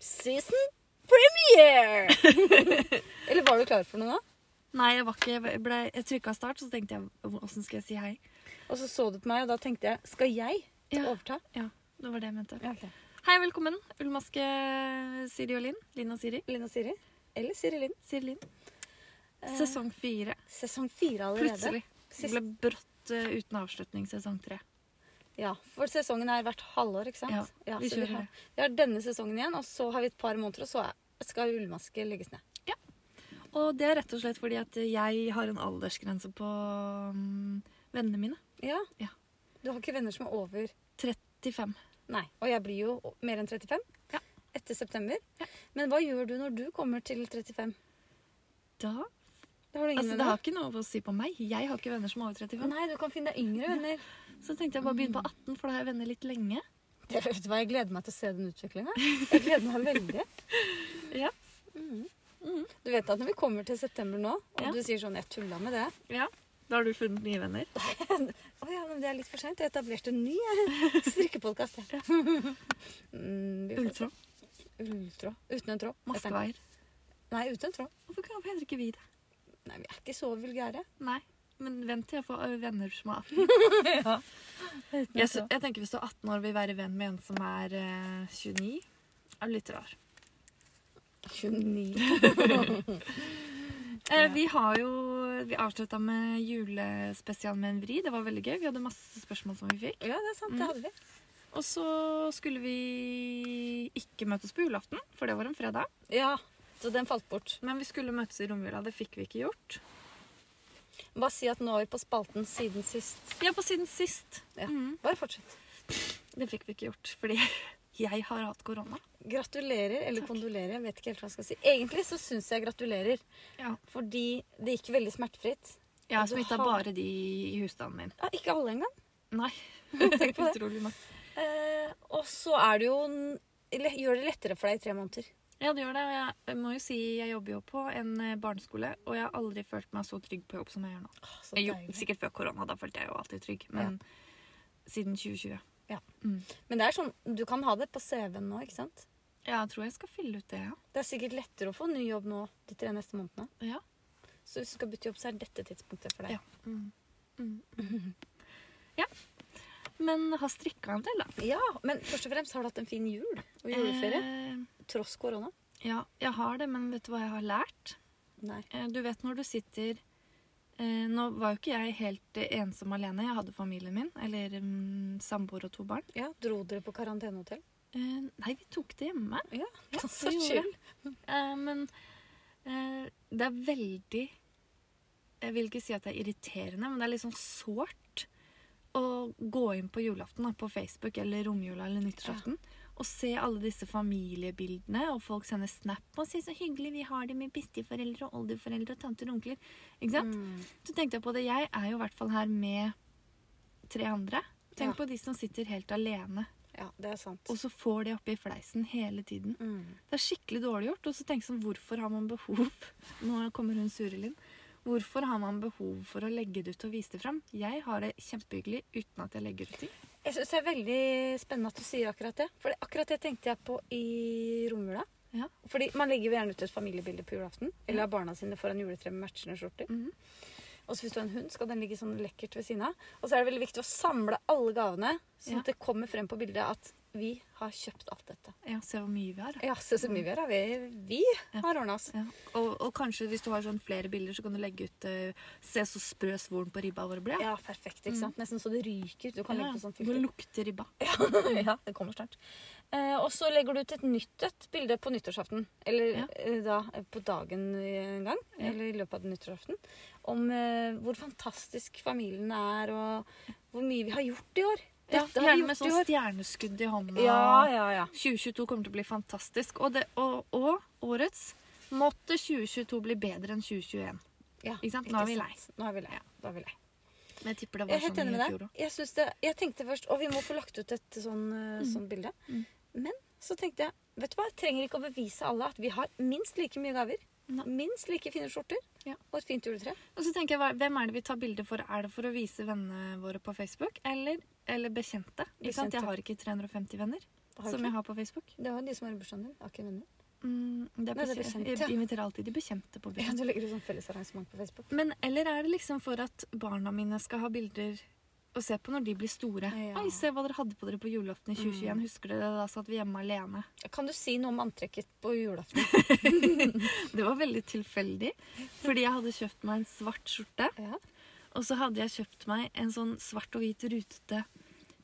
Season premiere! Eller var du klar for noe da? Nei, jeg var ikke Jeg, ble, jeg trykka start, så tenkte jeg åssen skal jeg si hei? Og så så du på meg, og da tenkte jeg skal jeg Ja. overta? Ja, det var det jeg mente. Ja, ok. Hei, velkommen. Ullmaske Siri og Linn. Linn og Siri. Linn og Siri. Eller Siri Linn. Siri Linn. Sesong fire. Sesong fire Eh, allerede. Plutselig. Det Sist- ble brått eh, uten avslutning sesong tre. Ja, for sesongen er hvert halvår, ikke sant? Ja, vi så kjører har, det. vi har denne sesongen igjen, og så har vi et par måneder, og så er- skal ullmaske legges ned. Og det er rett og slett fordi at jeg har en aldersgrense på mm, vennene mine. Ja. Ja. Du har ikke venner som er over 35. Nei. Og jeg blir jo o- mer enn 35 Ja. etter september. Men hva gjør du når du kommer til 35? Da Da har du ingen Altså, det har ikke noe å si på meg. Jeg har ikke venner som er over 35. venner. Nei, Mm. du kan finne deg yngre venner. Så tenkte jeg bare begynne på 18, for da har jeg venner litt lenge. Det, vet du hva, Jeg gleder meg til å se den utviklinga. Jeg gleder meg veldig. Ja. Mhm. Du vet at når vi kommer til september nå, og Ja. du sier sånn 'jeg tulla med det' Ja. Da har du funnet nye venner. Å ja, men det er litt for seint. Jeg etablerte en ny jeg. strikkepodkast. jeg. Mm, vi får se. Ultra. Ulltråd. Uten en tråd. Etter- Maskeveier. Nei, uten en tråd. Hvorfor kan- hvorfor heter ikke vi det? Nei, Vi er ikke så vulgære. Nei. Men vent til jeg får ø, venner som er 18. Jeg, sy- jeg tenker Hvis du er 18 år og vil være venn med en som er eh, 29, er du litt rar. 29. Eh, vi har jo Vi avslutta med julespesial med en vri. Det var veldig gøy. Vi hadde masse spørsmål som vi fikk. Ja, det er sant. Det Mm. hadde vi. Og så skulle vi ikke møtes på julaften, for det var en fredag. Ja, Så den falt bort. Men vi skulle møtes i romjula. Det fikk vi ikke gjort. Bare si at nå er vi på spalten siden sist. Ja, på siden sist. Ja. Mm, Bare fortsett. det fikk vi ikke gjort fordi jeg har hatt korona. Gratulerer eller Takk. kondolerer. Jeg vet ikke helt hva jeg skal si. Egentlig så syns jeg gratulerer, Ja. fordi det gikk veldig smertefritt. Jeg har Du smitta har- bare de i husstanden min. Ja, ikke alle engang. Nei. Tenk på det. Utrolig nok. Eh, og så er det jo n- le- Gjør det lettere for deg i tre måneder. Ja, det gjør det. Og jeg, jeg må jo si jeg jobber jo på en eh, barneskole, og jeg har aldri følt meg så trygg på jobb som jeg gjør nå. Åh, så Jo, deilig. sikkert før korona, da følte jeg jo alltid trygg, men siden 2020. Men det er sånn, du kan ha det på CV-en nå, ikke sant? Ja, jeg tror jeg skal fylle ut det, ja. Det er sikkert lettere å få ny jobb nå de tre neste månedene. ja. Så hvis du skal bytte jobb, så er dette tidspunktet for deg. Ja. Men har strikka en del, da. Ja, Men først og fremst har du hatt en fin jul og juleferie. Eh, Tross korona. ja, jeg har det, men vet du hva jeg har lært? Nei. Eh, Du vet når du sitter eh, Nå var jo ikke jeg helt eh, ensom alene. Jeg hadde familien min, eller mm, samboer og to barn. Ja, Dro dere på karantenehotell? Eh, Nei, vi tok det hjemme. Ja, så chill. Eh, Men eh, det er veldig Jeg vil ikke si at det er irriterende, men det er litt sånn sårt å gå inn på julaften da, på Facebook eller romjula eller nyttårsaften og se alle disse familiebildene, og folk sender snap og sier 'så hyggelig vi har det med besteforeldre og oldeforeldre og tanter og onkler'. Ikke sant? Mm. Så tenkte jeg på det. Jeg er jo i hvert fall her med tre andre. Tenk Ja. på de som sitter helt alene, Ja, det er sant. og så får det oppi fleisen hele tiden. Mm. Det er skikkelig dårlig gjort. Og så tenk sånn, hvorfor har man behov Nå kommer hun Surelin. Hvorfor har man behov for å legge det ut og vise det fram? Jeg har det kjempehyggelig uten at jeg legger ut ting. Jeg syns det er veldig spennende at du sier akkurat det. For det- akkurat det tenkte jeg på i romjula. Ja. Fordi man legger jo gjerne ut et familiebilde på julaften. Eller av barna sine foran juletre med matchende skjorter. Mhm. Og så hvis du har en hund, skal den ligge sånn lekkert ved siden av. Og så er det veldig viktig å samle alle gavene, sånn Ja. at det kommer frem på bildet at vi har kjøpt alt dette. Ja, se hvor mye vi har. da. Ja, se så mye vi har. da. Vi, vi har ordna oss. Ja. Og, og kanskje hvis du har sånn flere bilder, så kan du legge ut eh, Se så sprø svoren på ribba vår ble. Ja, Mhm. perfekt. ikke sant? Nesten så det ryker ut. Du kan legge på sånn Hvor filter. lukter ribba? ja, det kommer snart. Eh, og så legger du ut et nytt et bilde på nyttårsaften. Eller Ja. eh, da eh, på dagen en gang, Ja. eller i løpet av nyttårsaften. Om eh, hvor fantastisk familien er, og hvor mye vi har gjort i år. Ja, Dette har vi gjerne med gjort sånn i år. stjerneskudd i hånda. Ja, ja, ja. 2022 kommer til å bli fantastisk. Og, det, og, og årets måtte 2022 bli bedre enn 2021. ja Ikke sant? Nå er vi lei. sant. Nå er vi lei. Ja. Nå er vi lei. Men jeg tipper det Jeg var er helt sånn enig i med fjor deg. òg. Jeg, syns det, jeg tenkte først Og vi må få lagt ut et sånn, eh, sånn bilde. Mm. Men så tenkte jeg Vet du hva, jeg trenger ikke å bevise alle at vi har minst like mye gaver. Nei. Minst like fine skjorter. Ja. Og et fint juletre. Og så tenker jeg, hva- Hvem er det vi tar bilder for? Er det for å vise vennene våre på Facebook, eller, eller bekjente? Ikke sant? Jeg har ikke 350 venner, Har du som ikke? jeg har på Facebook. Det var de som har i bursdagen din. Jeg Har ikke venner. Mm, det er Nei, det er bekjente. bekjente. Jeg inviterer alltid de bekjente på Ja, bursdag. du legger ut sånn fellesarrangement på Facebook. Men eller er det liksom for at barna mine skal ha bilder å se på når de blir store? Ja. Oi, se hva dere hadde på dere på julaften i 2021. Mm. Husker dere det? Da satt vi hjemme alene. Kan du si noe om antrekket på julaften? Det var veldig tilfeldig, fordi jeg hadde kjøpt meg en svart skjorte. Ja. Og så hadde jeg kjøpt meg en sånn svart og hvit rutete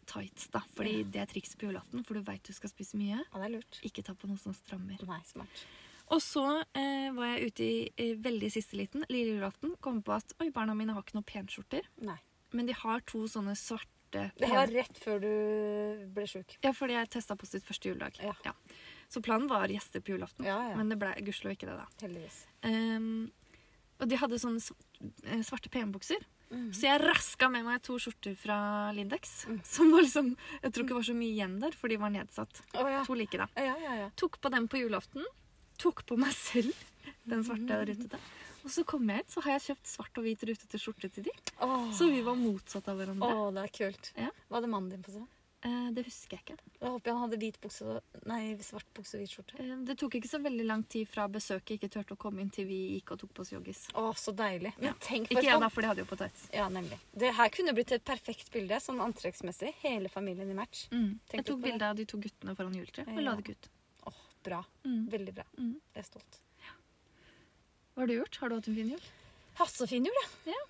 tights, da. Fordi det er triks på julaften, for du veit du skal spise mye. ja, det er lurt. Ikke ta på noe som strammer. Nei, smart. Og så eh, var jeg ute i eh, veldig siste liten, lille julaften, kom på at oi, barna mine har ikke noen penskjorter, Nei. men de har to sånne svarte Det pen- var rett før du ble sjuk. Ja, fordi jeg testa på sitt første juledag. Ja. Så planen var gjester på julaften, Ja, ja. men det ble gudskjelov ikke det, da. Heldigvis. Ehm, og de hadde sånne s- eh, svarte penbukser. Så jeg raska med meg to skjorter fra Lindex. Som var liksom Jeg tror ikke det var så mye igjen der, for de var nedsatt. Å ja. To like, da. Ja, ja, ja. Tok på dem på julaften. Tok på meg selv den svarte og rutete. Og så kom jeg hit, så har jeg kjøpt svart og hvit rutete skjorte til de. Åh. Så vi var motsatt av Å, hverandre. det er kult. Ja. Hva hadde mannen din på seg? Eh, det husker jeg ikke. Da håper jeg han hadde hvit bukse og Nei, svart bukse og hvit skjorte. Eh, det tok ikke så veldig lang tid fra besøket ikke turte å komme inn, til vi gikk og tok på oss joggis. Å, så deilig. Men Ja. tenk på Ikke jeg, da, for de hadde jo på tights. Ja, nemlig. Det her kunne blitt et perfekt bilde, sånn antrekksmessig. Hele familien i match. Mm. Tenk litt Jeg tok på det. bilde av de to guttene foran juletreet og Ja. la det ut. Åh, bra. Mm. Veldig bra. Mm. Jeg er stolt. Hva har du gjort? Har du hatt en fin jul? Hatt så fin jul, jeg. Ja.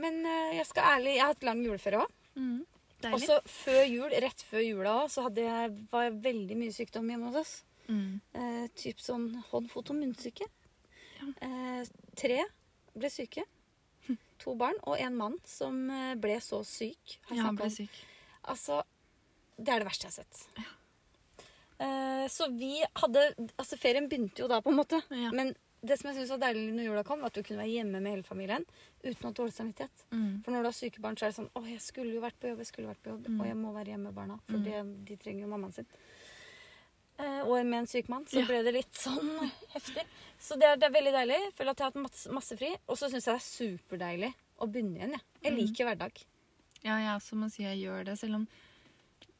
Men eh, jeg skal ærlig, jeg har hatt lang juleferie òg. Mm. Og Deilig. så før jul, rett før jula òg, så hadde jeg, var jeg veldig mye sykdom hjemme hos oss. Mm. Eh, typ sånn hånd, fot og munnsyke. Ja. Hm. Eh, tre ble syke. To barn og en mann som eh, ble så syk. Har Ja, han snakket ble om- syk. Altså, det er det verste jeg har sett. Eh, så vi hadde Altså, ferien begynte jo da, på en måte. Ja. Men det som jeg syntes var deilig når jula kom, var at du kunne være hjemme med hele familien uten å ha dårlig samvittighet. Mm. For når du har syke barn, så er det sånn Å, jeg skulle jo vært på jobb, jeg skulle vært på jobb, Mm. og jeg må være hjemme med barna. For Mm. det- de trenger jo mammaen sin. Eh, og med en syk mann, så Ja. ble det litt sånn heftig. Så det er, det er veldig deilig. Jeg føler at jeg har hatt masse, masse fri. Og så syns jeg det er superdeilig å begynne igjen, jeg. Jeg Mm. liker hverdag. Ja, jeg også må si jeg gjør det, selv om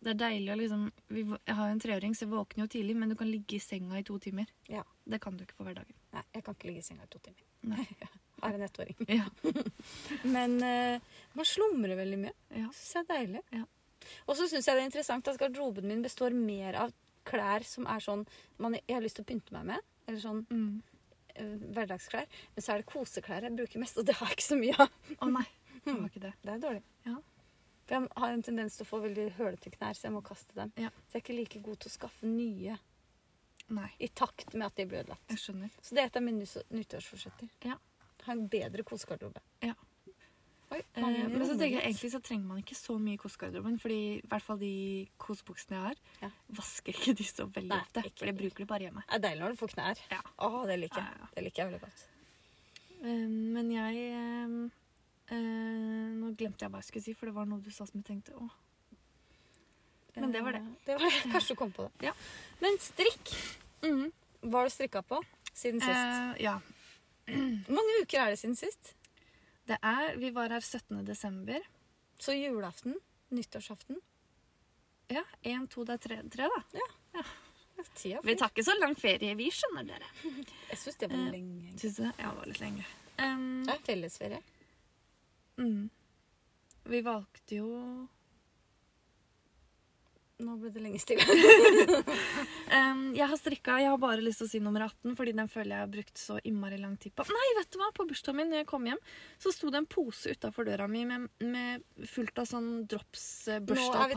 det er deilig å liksom vi, Jeg har jo en treåring, så jeg våkner jo tidlig, men du kan ligge i senga i to timer. Ja. Det kan du ikke på hverdagen. Nei, jeg kan ikke ligge i senga i to timer. Nei. Jeg er en ettåring. Ja. Men eh, man slumrer veldig mye. Ja. Det syns jeg er deilig. Ja. Og så syns jeg det er interessant at garderoben min består mer av klær som er sånn man, jeg har lyst til å pynte meg med. Eller sånn Mm. eh, hverdagsklær. Men så er det koseklær jeg bruker mest, og det har jeg ikke så mye av. Å nei, det var ikke det. Det er dårlig. Ja. For jeg har en tendens til å få veldig hølete knær, så jeg må kaste dem. Ja. Så jeg er ikke like god til å skaffe nye Nei, i takt med at de blir ødelagt. jeg skjønner. Så det er et av mine nys- nyttårsforsetter. Ja. Ha en bedre kosegarderobe. Ja. Oi, Eh, mange men så rommer tenker jeg litt. egentlig så trenger man ikke så mye i kosegarderoben, fordi i hvert fall de kosebuksene jeg har, Ja. vasker ikke de så veldig Nei, ofte. ikke- For jeg bruker de bare hjemme. Det er deilig når du får knær. Ja. Åh, det liker jeg. Ja, ja. Det liker jeg veldig godt. Eh, Men jeg eh, eh, Nå glemte jeg hva jeg skulle si, for det var noe du sa som jeg tenkte Å, Men det var det. Eh, var det. Kanskje du kom på det. Ja. Mm. Men strikk. Hva har du strikka på siden sist? Eh, ja. Hvor mange uker er det siden sist? Det er Vi var her 17. desember. Så julaften, nyttårsaften Ja, én, to, det er tre, tre da. ja, Tida Vi flyr. tar ikke så lang ferie, vi, skjønner dere. Jeg syns det var Eh, lenge. Syns du det? Ja, det var litt lenge. Um, Det er fellesferie. mm. Vi valgte jo Nå ble det lenge stille. um, Jeg har strikka Jeg har bare lyst til å si nummer 18, fordi den føler jeg har brukt så innmari lang tid på. Nei, vet du hva? På bursdagen min når jeg kom hjem, så sto det en pose utafor døra mi med, med fullt av sånn drops eh, Nå er vi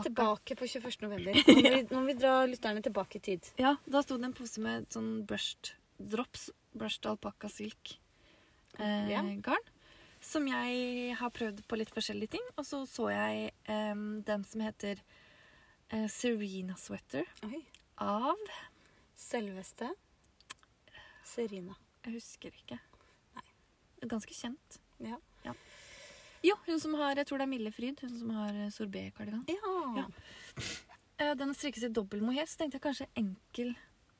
tilbake børstealpakka. på 21. november. Nå må vi, nå må vi dra lytterne tilbake i tid. Ja, da sto det en pose med sånn brushed drops, brushed alpakka silk eh, Ja. garn. Som jeg har prøvd på litt forskjellige ting. Og så så jeg eh, den som heter eh, Serena Sweater Oi. av Selveste Serena. Jeg husker ikke. Ganske kjent. Ja. Jo, hun som har Jeg tror det er Mille Fryd. Hun som har eh, sorbetkardigan. Ja. Ja. Eh, den strikkes i dobbel mohair, så tenkte jeg kanskje enkel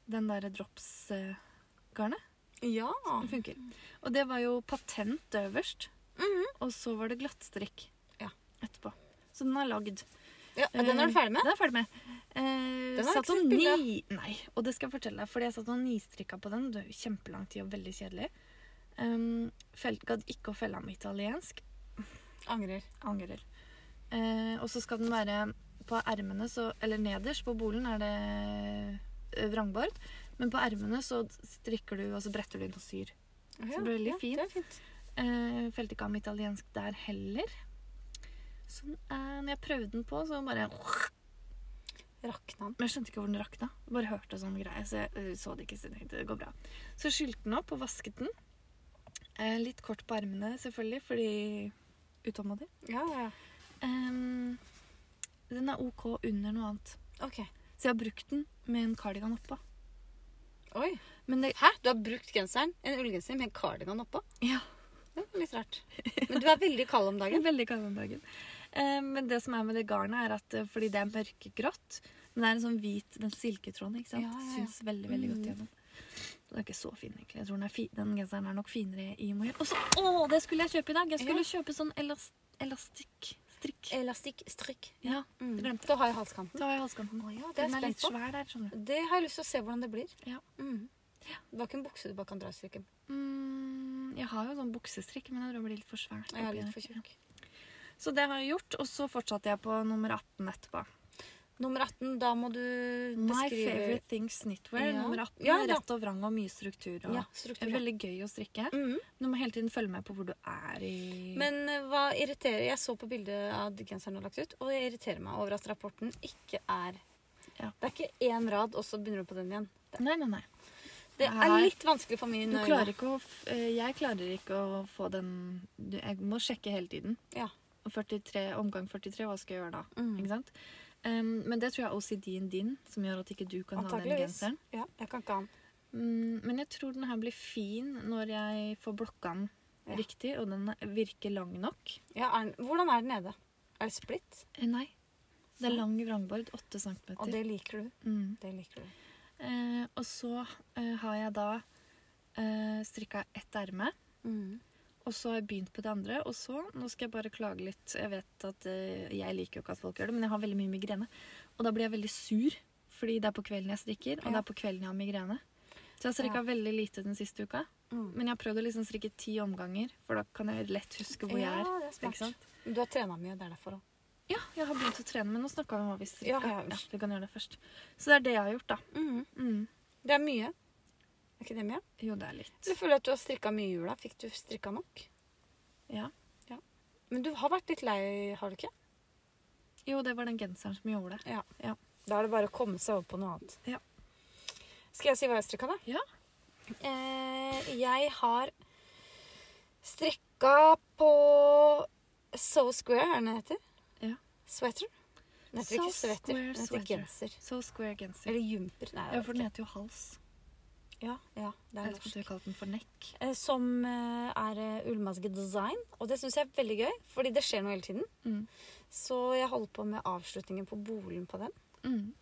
den eh, derre drops-garnet. ja. Det funker. Og det var jo patent øverst. Mhm. Og så var det glattstrikk Ja. etterpå. Så den er lagd. Ja, Den er du ferdig med? Den er jeg ferdig med. Eh, Den har jeg satt ikke og sett bilde av. ni... Nei, og det skal jeg fortelle deg, fordi jeg satt og nistrikka på den. Det er jo kjempelang tid og veldig kjedelig. Um, felt, gadd ikke å felle den med italiensk. Eh, Angrer. Angrer. Eh, og så skal den være på ermene, så Eller nederst på bolen er det eh, vrangbart. Men på ermene så strikker du, og så bretter du inn og syr. Ja, blir det veldig ja, fint. Det er fint. Eh, Felte ikke av med italiensk der heller. Så eh, når jeg prøvde den på, så bare Men Rakna den. jeg skjønte ikke hvor den rakna. Bare hørte sånn greie. Så jeg eh, så det ikke, så jeg tenkte det går bra. Så skylte den opp og vasket den. Eh, litt kort på armene, selvfølgelig, fordi utålmodig. Ja, ja, ja. Ehm, den er OK under noe annet. Ok. Så jeg har brukt den med en kardigan oppå. Oi. Men det Hæ? Du har brukt genseren, en ullgenser med en kardigan oppå? Ja. Det er Litt rart. Men du er veldig kald om Det dagen. er veldig kald om dagen. Eh, men det som er med det garnet, er at eh, fordi det er mørkegrått Men det er en sånn hvit den silketråden. ikke sant? Ja, ja, ja. Syns veldig veldig godt Mm. gjennom. Så Den er ikke så fin, egentlig. Jeg tror Den, er fi den genseren er nok finere i mohair. Og så, å, det skulle jeg kjøpe i dag! Jeg skulle kjøpe sånn elas elastikk. Strikk. Elastikk, strikk. Ja, Mm. det glemte jeg. Du Eh, har i halskanten. Det har jeg i halskanten. Å ja, det er Den er jeg litt spent på. svær der, skjønner du. Det har jeg lyst til å se hvordan det blir. Ja. Mm. Det var ikke en bukse du bare kan dra i strikken. Mm, jeg har jo sånn buksestrikk, men jeg tror det blir litt for svært. Jeg er oppi litt der. for tjukk. Så det har jeg gjort, og så fortsatte jeg på nummer 18 etterpå. Nummer 18, da må du My beskrive favorite things knitwear. Ja. Nummer 18. Ja, ja. Rett og vrang og mye struktur. Og ja, det struktur. er ja. veldig gøy å strikke. Mhm. Du må hele tiden følge med på hvor du er i Men eh, hva irriterer Jeg så på bildet av genseren du har lagt ut, og jeg irriterer meg over at rapporten ikke er Ja. Det er ikke én rad, og så begynner du på den igjen. Nei, nei, nei. Det er Nei. litt vanskelig for mine Du klarer ikke å f- eh, Jeg klarer ikke å få den du- Jeg må sjekke hele tiden. Ja. Og 43, omgang 43, hva skal jeg gjøre da? Mhm. Ikke sant? Um, men det tror jeg er OCD-en din som gjør at ikke du kan ha den Antakeligvis. genseren. Ja, jeg kan ikke ha den. Mm, men jeg tror den her blir fin når jeg får blokka den Ja. riktig, og den virker lang nok. Ja, er den. Hvordan er den nede? Er det splitt? Eh, Nei. Det er lang vrangbord, 8 cm. Og det liker du. Mm. Det liker du. Eh, og så eh, har jeg da eh, strikka ett erme, Mm. og så har jeg begynt på det andre. Og så, nå skal jeg bare klage litt, jeg vet at eh, jeg liker jo ikke at folk gjør det, men jeg har veldig mye migrene. Og da blir jeg veldig sur, fordi det er på kvelden jeg strikker, Ja. og det er på kvelden jeg har migrene. Så jeg har strikka Ja. veldig lite den siste uka, Mm. men jeg har prøvd å liksom strikke ti omganger, for da kan jeg lett huske hvor jeg er. Ja, det er Ikke sant? smart. Men Du har trena mye, det er derfor òg. Ja, jeg har begynt å trene, men nå snakka vi om hva vi strikker. Ja, ja. vi kan gjøre det først. Så det er det jeg har gjort, da. Mm. Det er mye. Er ikke det mye? Jo, det er litt. Du føler at du har strikka mye i jula. Fikk du strikka nok? Ja. Men du har vært litt lei, har du ikke? Jo, det var den genseren som gjorde det. Da er det bare å komme seg over på noe annet. Ja. Skal jeg si hva jeg strikka, da? Ja. Eh, jeg har strikka på So Square, er det den heter? Ja. Sweater. Den heter ikke So sweater, Square den heter sweater. genser. Så square genser. Eller jumper. Nei, Ja, det for er den det ikke. heter jo hals. Ja, ja, det Jeg er vet ikke om norsk. du har kalt den for nekk. Eh, Som eh, er eh, ullmaske design. Og det syns jeg er veldig gøy, fordi det skjer noe hele tiden. Mm. Så jeg holder på med avslutningen på bolen på den. Mm.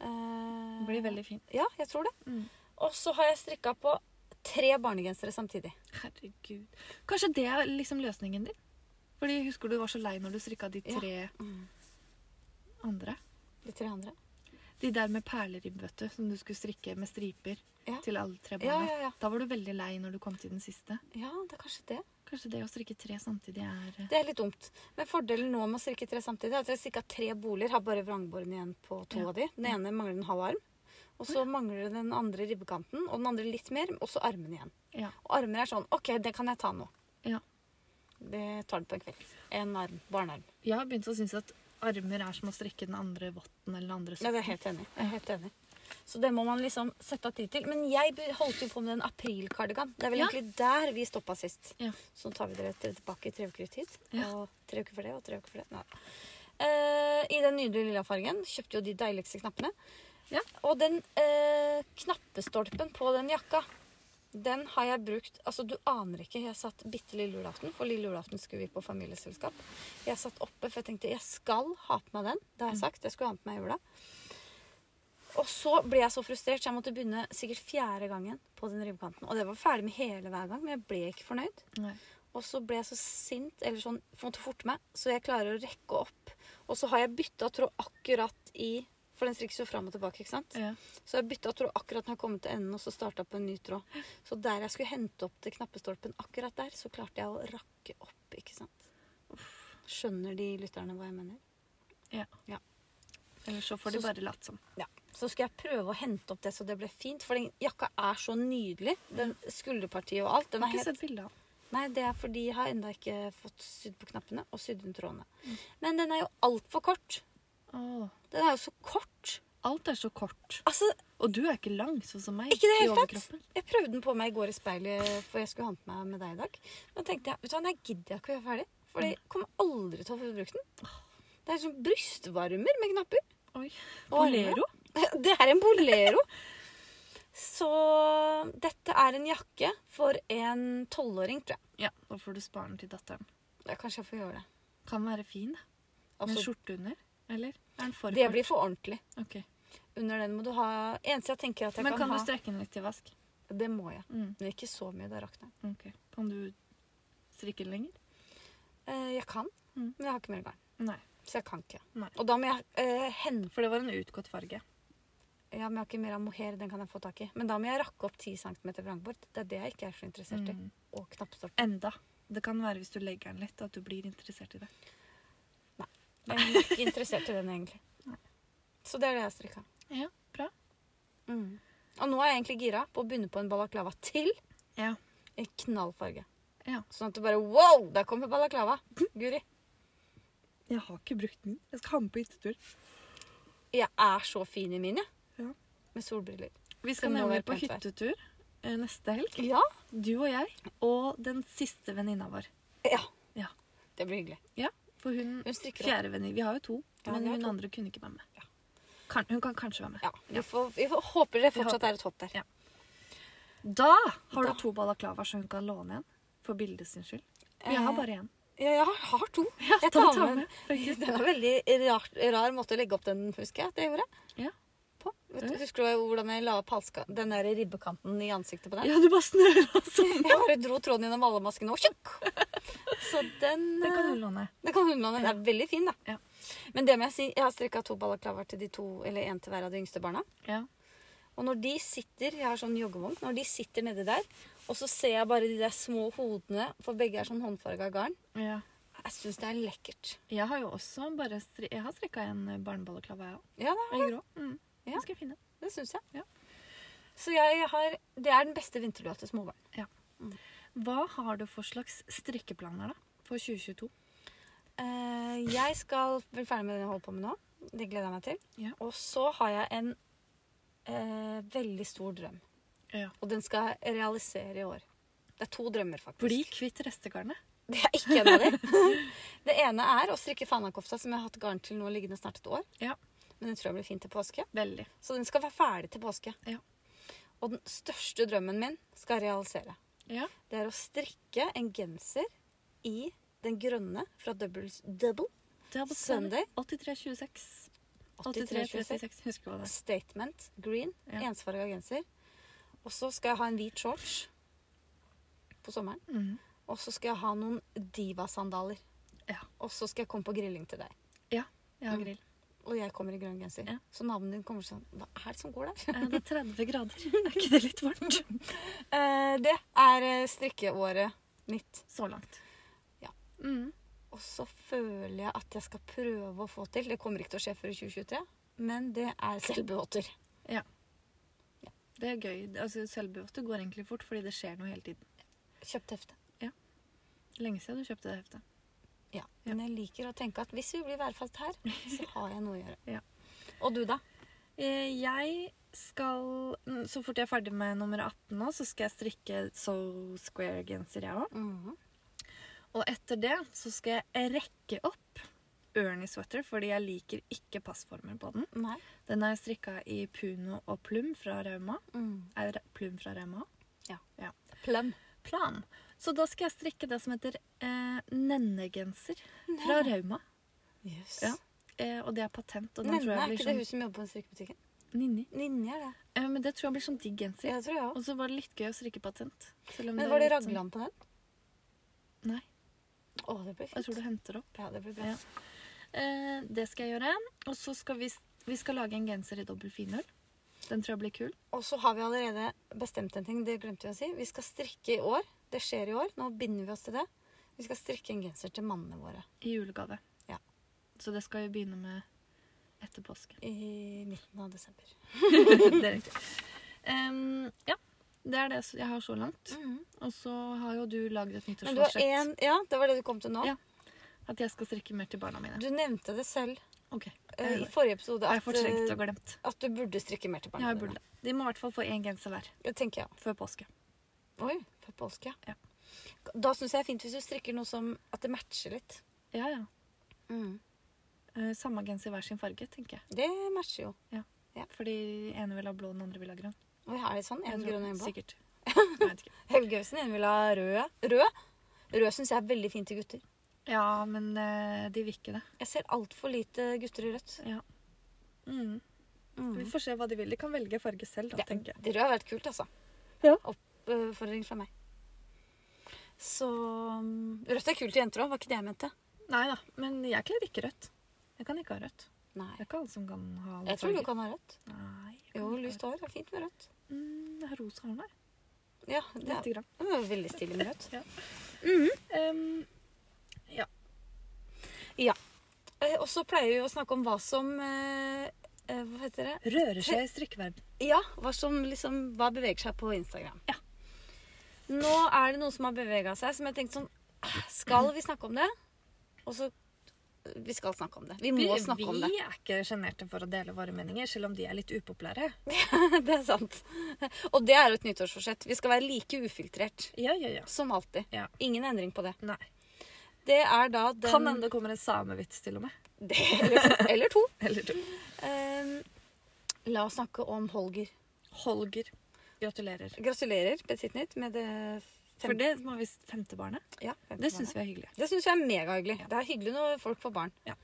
Eh, Det blir veldig fint. Ja, jeg tror det. Mm. Og så har jeg strikka på tre barnegensere samtidig. Herregud. Kanskje det er liksom løsningen din? Fordi husker du var så lei når du strikka de Ja. tre Mm. andre? De tre andre. De der med perleribb, vet du, som du skulle strikke med striper Ja. til alle tre Ja, barna. ja, ja. Da var du veldig lei når du kom til den siste. Ja, det er kanskje det. Kanskje det å strikke tre samtidig er eh, Det er litt dumt. Men fordelen nå med å strikke tre samtidig er at jeg har strikka tre boliger. Har bare vrangbåren igjen på to Ja. av de. Den ene mangler en halv arm. Og så mangler den andre ribbekanten, og den andre litt mer, og så armene igjen. eh, Ja. Og armer er sånn OK, det kan jeg ta nå. Ja. Det tar du på en kveld. En arm. Barnearm. Jeg har begynt å synes at armer er som å strikke den andre votten eller den andre Ja, det er jeg helt enig. i. Jeg er helt enig. Så det må man liksom sette av tid til. Men jeg be- holdt jo på med en aprilkardigan. Det er vel Ja. egentlig der vi stoppa sist. Ja. Så tar vi dere tre- tilbake i tre uker tid. Ja. Og tre uker for det, og tre uker for det. Nei. Eh, I den nydelige lilla fargen. Kjøpte jo de deiligste knappene. Ja. Og den eh, knappestolpen på den jakka, den har jeg brukt Altså, du aner ikke. Jeg satt bitte lille julaften, for lille julaften skulle vi på familieselskap. Jeg satt oppe, for jeg tenkte jeg skal ha på meg den. Det Mm. har jeg sagt. Jeg skulle ha den på meg i jula. Og så ble jeg så frustrert, så jeg måtte begynne sikkert fjerde gangen på den ribbekanten. Og det var ferdig med hele hver gang, men jeg ble ikke fornøyd. Nei. Og så ble jeg så sint, eller sånn, for å forte meg, så jeg klarer å rekke opp Og så har jeg bytta tråd akkurat i For den strikkes jo fram og tilbake, ikke sant? Ja. Så jeg bytta tråd akkurat når jeg kom til enden, og så starta på en ny tråd. Så der jeg skulle hente opp til knappestolpen, akkurat der, så klarte jeg å rakke opp, ikke sant. Skjønner de lytterne hva jeg mener? Eller så får de Så- bare late som. Ja. Så skal jeg prøve å hente opp det så det ble fint, for den jakka er så nydelig. Den skulderpartiet og alt. Den Jeg er har helt ikke sett bilde av den. Nei, det er fordi jeg har ennå ikke fått sydd på knappene og sydd inn trådene. Men den er jo altfor kort. Åh. Den er jo så kort. Alt er så kort. Altså, Og du er ikke lang, sånn som meg. Ikke i det i hele tatt. overkroppen. jeg prøvde den på meg i går i speilet, for jeg skulle ha den på meg med deg i dag. Men tenkte jeg, vet du hva, nei, gidder jeg ikke å gjøre ferdig. For jeg kommer aldri til å få brukt den. Det er sånn brystvarmer med knapper. Oi. Og armer. Bolero? Det er en bolero. Så dette er en jakke for en tolvåring, tror jeg. Ja, da får du spare den til datteren. Ja, Kanskje jeg får gjøre det. Kan være fin, da. Med Altså, skjorte under? Eller? Er den for det kort? blir for ordentlig. Ok. Under den må du ha Eneste jeg tenker at jeg Men kan, kan du ha strekke den litt til vask? Det må jeg. Mm. Men ikke så mye, det rakner. Ok. Kan du strikke den lenger? Eh, Jeg kan, men Mm. jeg har ikke mer garn. Nei. Så jeg kan ikke. Nei. Og da må jeg eh, hen... For det var en utgått farge. Ja, men jeg har ikke mer av mohair, den kan jeg få tak i. Men da må jeg rakke opp 10 cm vrangbord. Det er det jeg ikke er så interessert i. Mm. Og knappstolp. Enda. Det kan være hvis du legger den litt, at du blir interessert i det. Jeg er ikke interessert i den, egentlig. Nei. Så det er det jeg strikka. Ja, bra. Mm. Og nå er jeg egentlig gira på å begynne på en balaklava til Ja. i knallfarge. Ja. Sånn at du bare Wow! Der kommer balaklava! Guri. Jeg har ikke brukt den. Jeg skal ha den på hyttetur. Jeg er så fin i min, jeg. Ja. Med solbriller. Vi skal Det må nemlig være på pent vær. hyttetur eh, neste helg. Ja. Du og jeg, og den siste venninna vår. ja. Ja. Det blir hyggelig. For hun Hun strikker opp. fjerde venninne Vi har jo to, Ja, vi men har hun to. andre kunne ikke være med. Ja. Kan, hun kan kanskje være med. Ja, vi, får, vi får, håper det fortsatt håper. er et håp der. Ja. Da har Da. du to balaklavaer som hun kan låne en. For bildets sin skyld. Jeg har Eh, bare én. Ja, jeg har, har to. jeg da tar tar med med, faktisk. Det var en veldig rar, rar måte å legge opp den, husker jeg. at jeg gjorde. Ja. På. Vet du, Ja. husker du hvordan jeg la opp halska, den der ribbekanten i ansiktet på den? Ja, du bare snører og Jeg sånn. bare dro tråden gjennom alle maskene og tjukk! Så den Den kan eh, hun låne. den kan hun låne. Den er veldig fin, da. Ja. Men det må jeg si, jeg har strikka to ballaklavaer til de to, eller én til hver av de yngste barna. Ja. Og når de sitter, jeg har sånn joggevogn, når de sitter nedi der, og så ser jeg bare de der små hodene, for begge er sånn håndfarga garn, ja. jeg syns det er lekkert. Jeg har jo også bare stri Jeg har strikka en barneballeklava, jeg òg. Ja da, I grå. Mm. Ja. Den skal jeg finne. det syns jeg. Ja. Så jeg har Det er den beste vinterlua til småbarn. Hva har du for slags strikkeplaner da, for 2022? Eh, jeg skal bli ferdig med den jeg holder på med nå. Det gleder jeg meg til. Ja. Og så har jeg en eh, veldig stor drøm. Ja. Og den skal jeg realisere i år. Det er to drømmer, faktisk. Bli kvitt restegarnet. Det er ikke en av de. Det ene er å strikke fanakofta, som jeg har hatt garn til nå liggende snart et år. Ja. Men den tror jeg blir fin til påske. Veldig. Så den skal være ferdig til påske. Ja. Og den største drømmen min skal jeg realisere. Ja. Det er å strikke en genser i den grønne fra Doubles, Double Sunday. 8326. 8326. 8336. Husker du hva det er? Statement green, Ja. ensfarga genser. Og så skal jeg ha en hvit shorts på sommeren. Mhm. Og så skal jeg ha noen divasandaler. Ja. Og så skal jeg komme på grilling til deg. Jeg har Mm. grill. Og jeg kommer i grønn genser. Ja. Så naboen din kommer sånn Hva er det som går der? Eh, Det er 30 grader. Er ikke det litt varmt? Eh, det er eh, strikkeåret mitt. Så langt. Ja. Mm. Og så føler jeg at jeg skal prøve å få til. Det kommer ikke til å skje før i 2023, men det er selvbåter. Det er gøy. Altså, Selvbeofte går egentlig fort, fordi det skjer noe hele tiden. Kjøpt hefte. Lenge siden du kjøpte det heftet. Ja. Men jeg liker å tenke at hvis vi blir værfast her, så har jeg noe å gjøre. Ja. Og du, da? Eh, Jeg skal, mm, så fort jeg er ferdig med nummer 18 nå, så skal jeg strikke So Square-genser jeg òg. Mhm. Og etter det så skal jeg rekke opp Ernie Sweater, fordi jeg liker ikke passformer på den. Nei. Den er strikka i puno og plum fra Rauma. Mm. Er det plum fra Rauma? Plum. Plan. Så da skal jeg strikke det som heter eh, nennegenser fra Rauma. Yes. Ja, Eh, og det er patent. Og den Nenne, tror jeg er blir ikke det sånn... hun som jobber på den strikkebutikken? Ninni. Ninje er det. Eh, men det tror jeg blir sånn digg genser. Det tror jeg òg. Og så var det litt gøy å strikke patent. selv om Men er var det litt sånn- raglan på den? Nei. Å, det blir fint. Jeg tror du henter det opp. Ja, det blir bra. Ja. Eh, det skal jeg gjøre. Og så skal vi, vi skal lage en genser i dobbel finull. Den tror jeg blir kul. Og så har vi allerede bestemt en ting. Det glemte vi å si. Vi skal strikke i år. Det skjer i år. Nå binder vi oss til det. Vi skal strikke en genser til mannene våre I julegave. Ja. Så det skal vi begynne med etter påske. i midten av desember. det er riktig. Em, Ehm, ja. Det er det s- jeg har så langt. Og så har jo du laget et Men du har nyttårsforsett. en, ja, det var det du kom til nå. Ja. At jeg skal strikke mer til barna mine. Du nevnte det selv Ok. eh, Jeg i forrige episode har at, jeg fortrengt og eh, glemt. at du burde strikke mer til Ja, barna jeg burde det. De må i hvert fall få én genser hver Det tenker jeg også. før påske. Oi, for påske, ja. Ja. Da syns jeg det er fint hvis du strikker noe som at det matcher litt. Ja, ja. Eh, Samme genser i hver sin farge, tenker jeg. Det matcher jo. Fordi ene vil ha blå, den andre vil ha grønn. Oi, er det sånn? Jeg En tror- grønn og en blå? Sikkert. Jeg vet ikke. Helgausen, en vil ha rød. Rød, rød syns jeg er veldig fint til gutter. Ja, men eh, de vil ikke det. Jeg ser altfor lite gutter i rødt. Ja. Mm. Vi får se hva de vil. De kan velge farge selv, da, Det, tenker jeg. det røde har vært kult, altså. Ja. Oppfordring fra meg. Så mm, Rødt er kult til jenter òg, var ikke det jeg mente. Nei da, men jeg kler ikke rødt. Jeg kan ikke ha rødt. Nei. Det er ikke alle som kan ha alle Jeg tror du kan ha rødt. farger. Nei, jeg kan Jo, ikke ha lyst hår er fint med rødt. rødt. Mm, jeg har rosa hår, nei. Ja, det er, Lite grann. det er veldig stilig med rødt. Em, Eh, Og så pleier vi å snakke om hva som eh, eh, Hva heter det? rører seg i strikkeverden. Ja, hva som liksom Hva beveger seg på Instagram. Ja. Nå er det noe som har bevega seg, som jeg tenkte sånn ah, Skal vi snakke om det? Og så Vi skal snakke om det. Vi må snakke om det. er ikke sjenerte for å dele våre meninger, selv om de er litt upopulære. Det er sant. Og det er jo et nyttårsforsett. Vi skal være like ufiltrert Ja, ja, ja. som alltid. Ja. Ingen endring på det. Nei. Det er da den Kan hende det kommer en samevits til og med. det, eller, eller to. Eller to. Ehm, la oss snakke om Holger. Holger. Gratulerer. Gratulerer, Petit Nytt, med det fem- For det må visst femte barnet. ja, femte Det barnet. syns vi er hyggelig. Det syns jeg er megahyggelig. Det er hyggelig når folk får barn. Ja.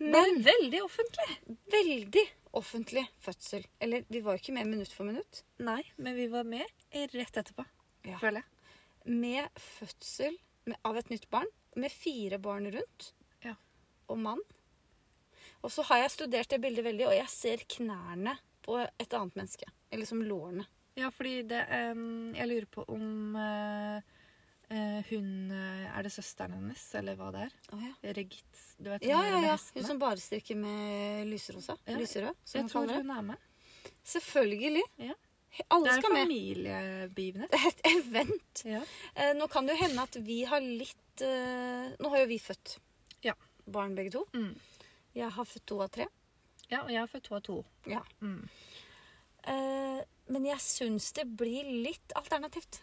Men veldig offentlig. veldig offentlig fødsel. Eller vi var jo ikke med minutt for minutt. Nei, men vi var med rett etterpå, Ja. føler jeg. Med fødsel med, av et nytt barn, med fire barn rundt, Ja. og mann. Og så har jeg studert det bildet veldig, og jeg ser knærne på et annet menneske. Eller som lårene. Ja, fordi det em, Jeg lurer på om eh, eh, hun eh, Er det søsteren hennes, eller hva det er? Oh, ja. Regitz. Du vet hun Ja, der ja, med ja. hestene? Hun som bare strikker med lyserosa. Ja, Lyserød, som Jeg hun tror kaller det. hun er med. Selvfølgelig. Ja. He- Alle Det er skal med. familiebegivenhet. Det er et event. Ja. Eh, Nå kan det jo hende at vi har litt eh, Nå har jo vi født Ja. barn, begge to. Mm. Jeg har født to av tre. ja, og jeg er født to av to. Ja. Mm. Eh, Men jeg syns det blir litt alternativt.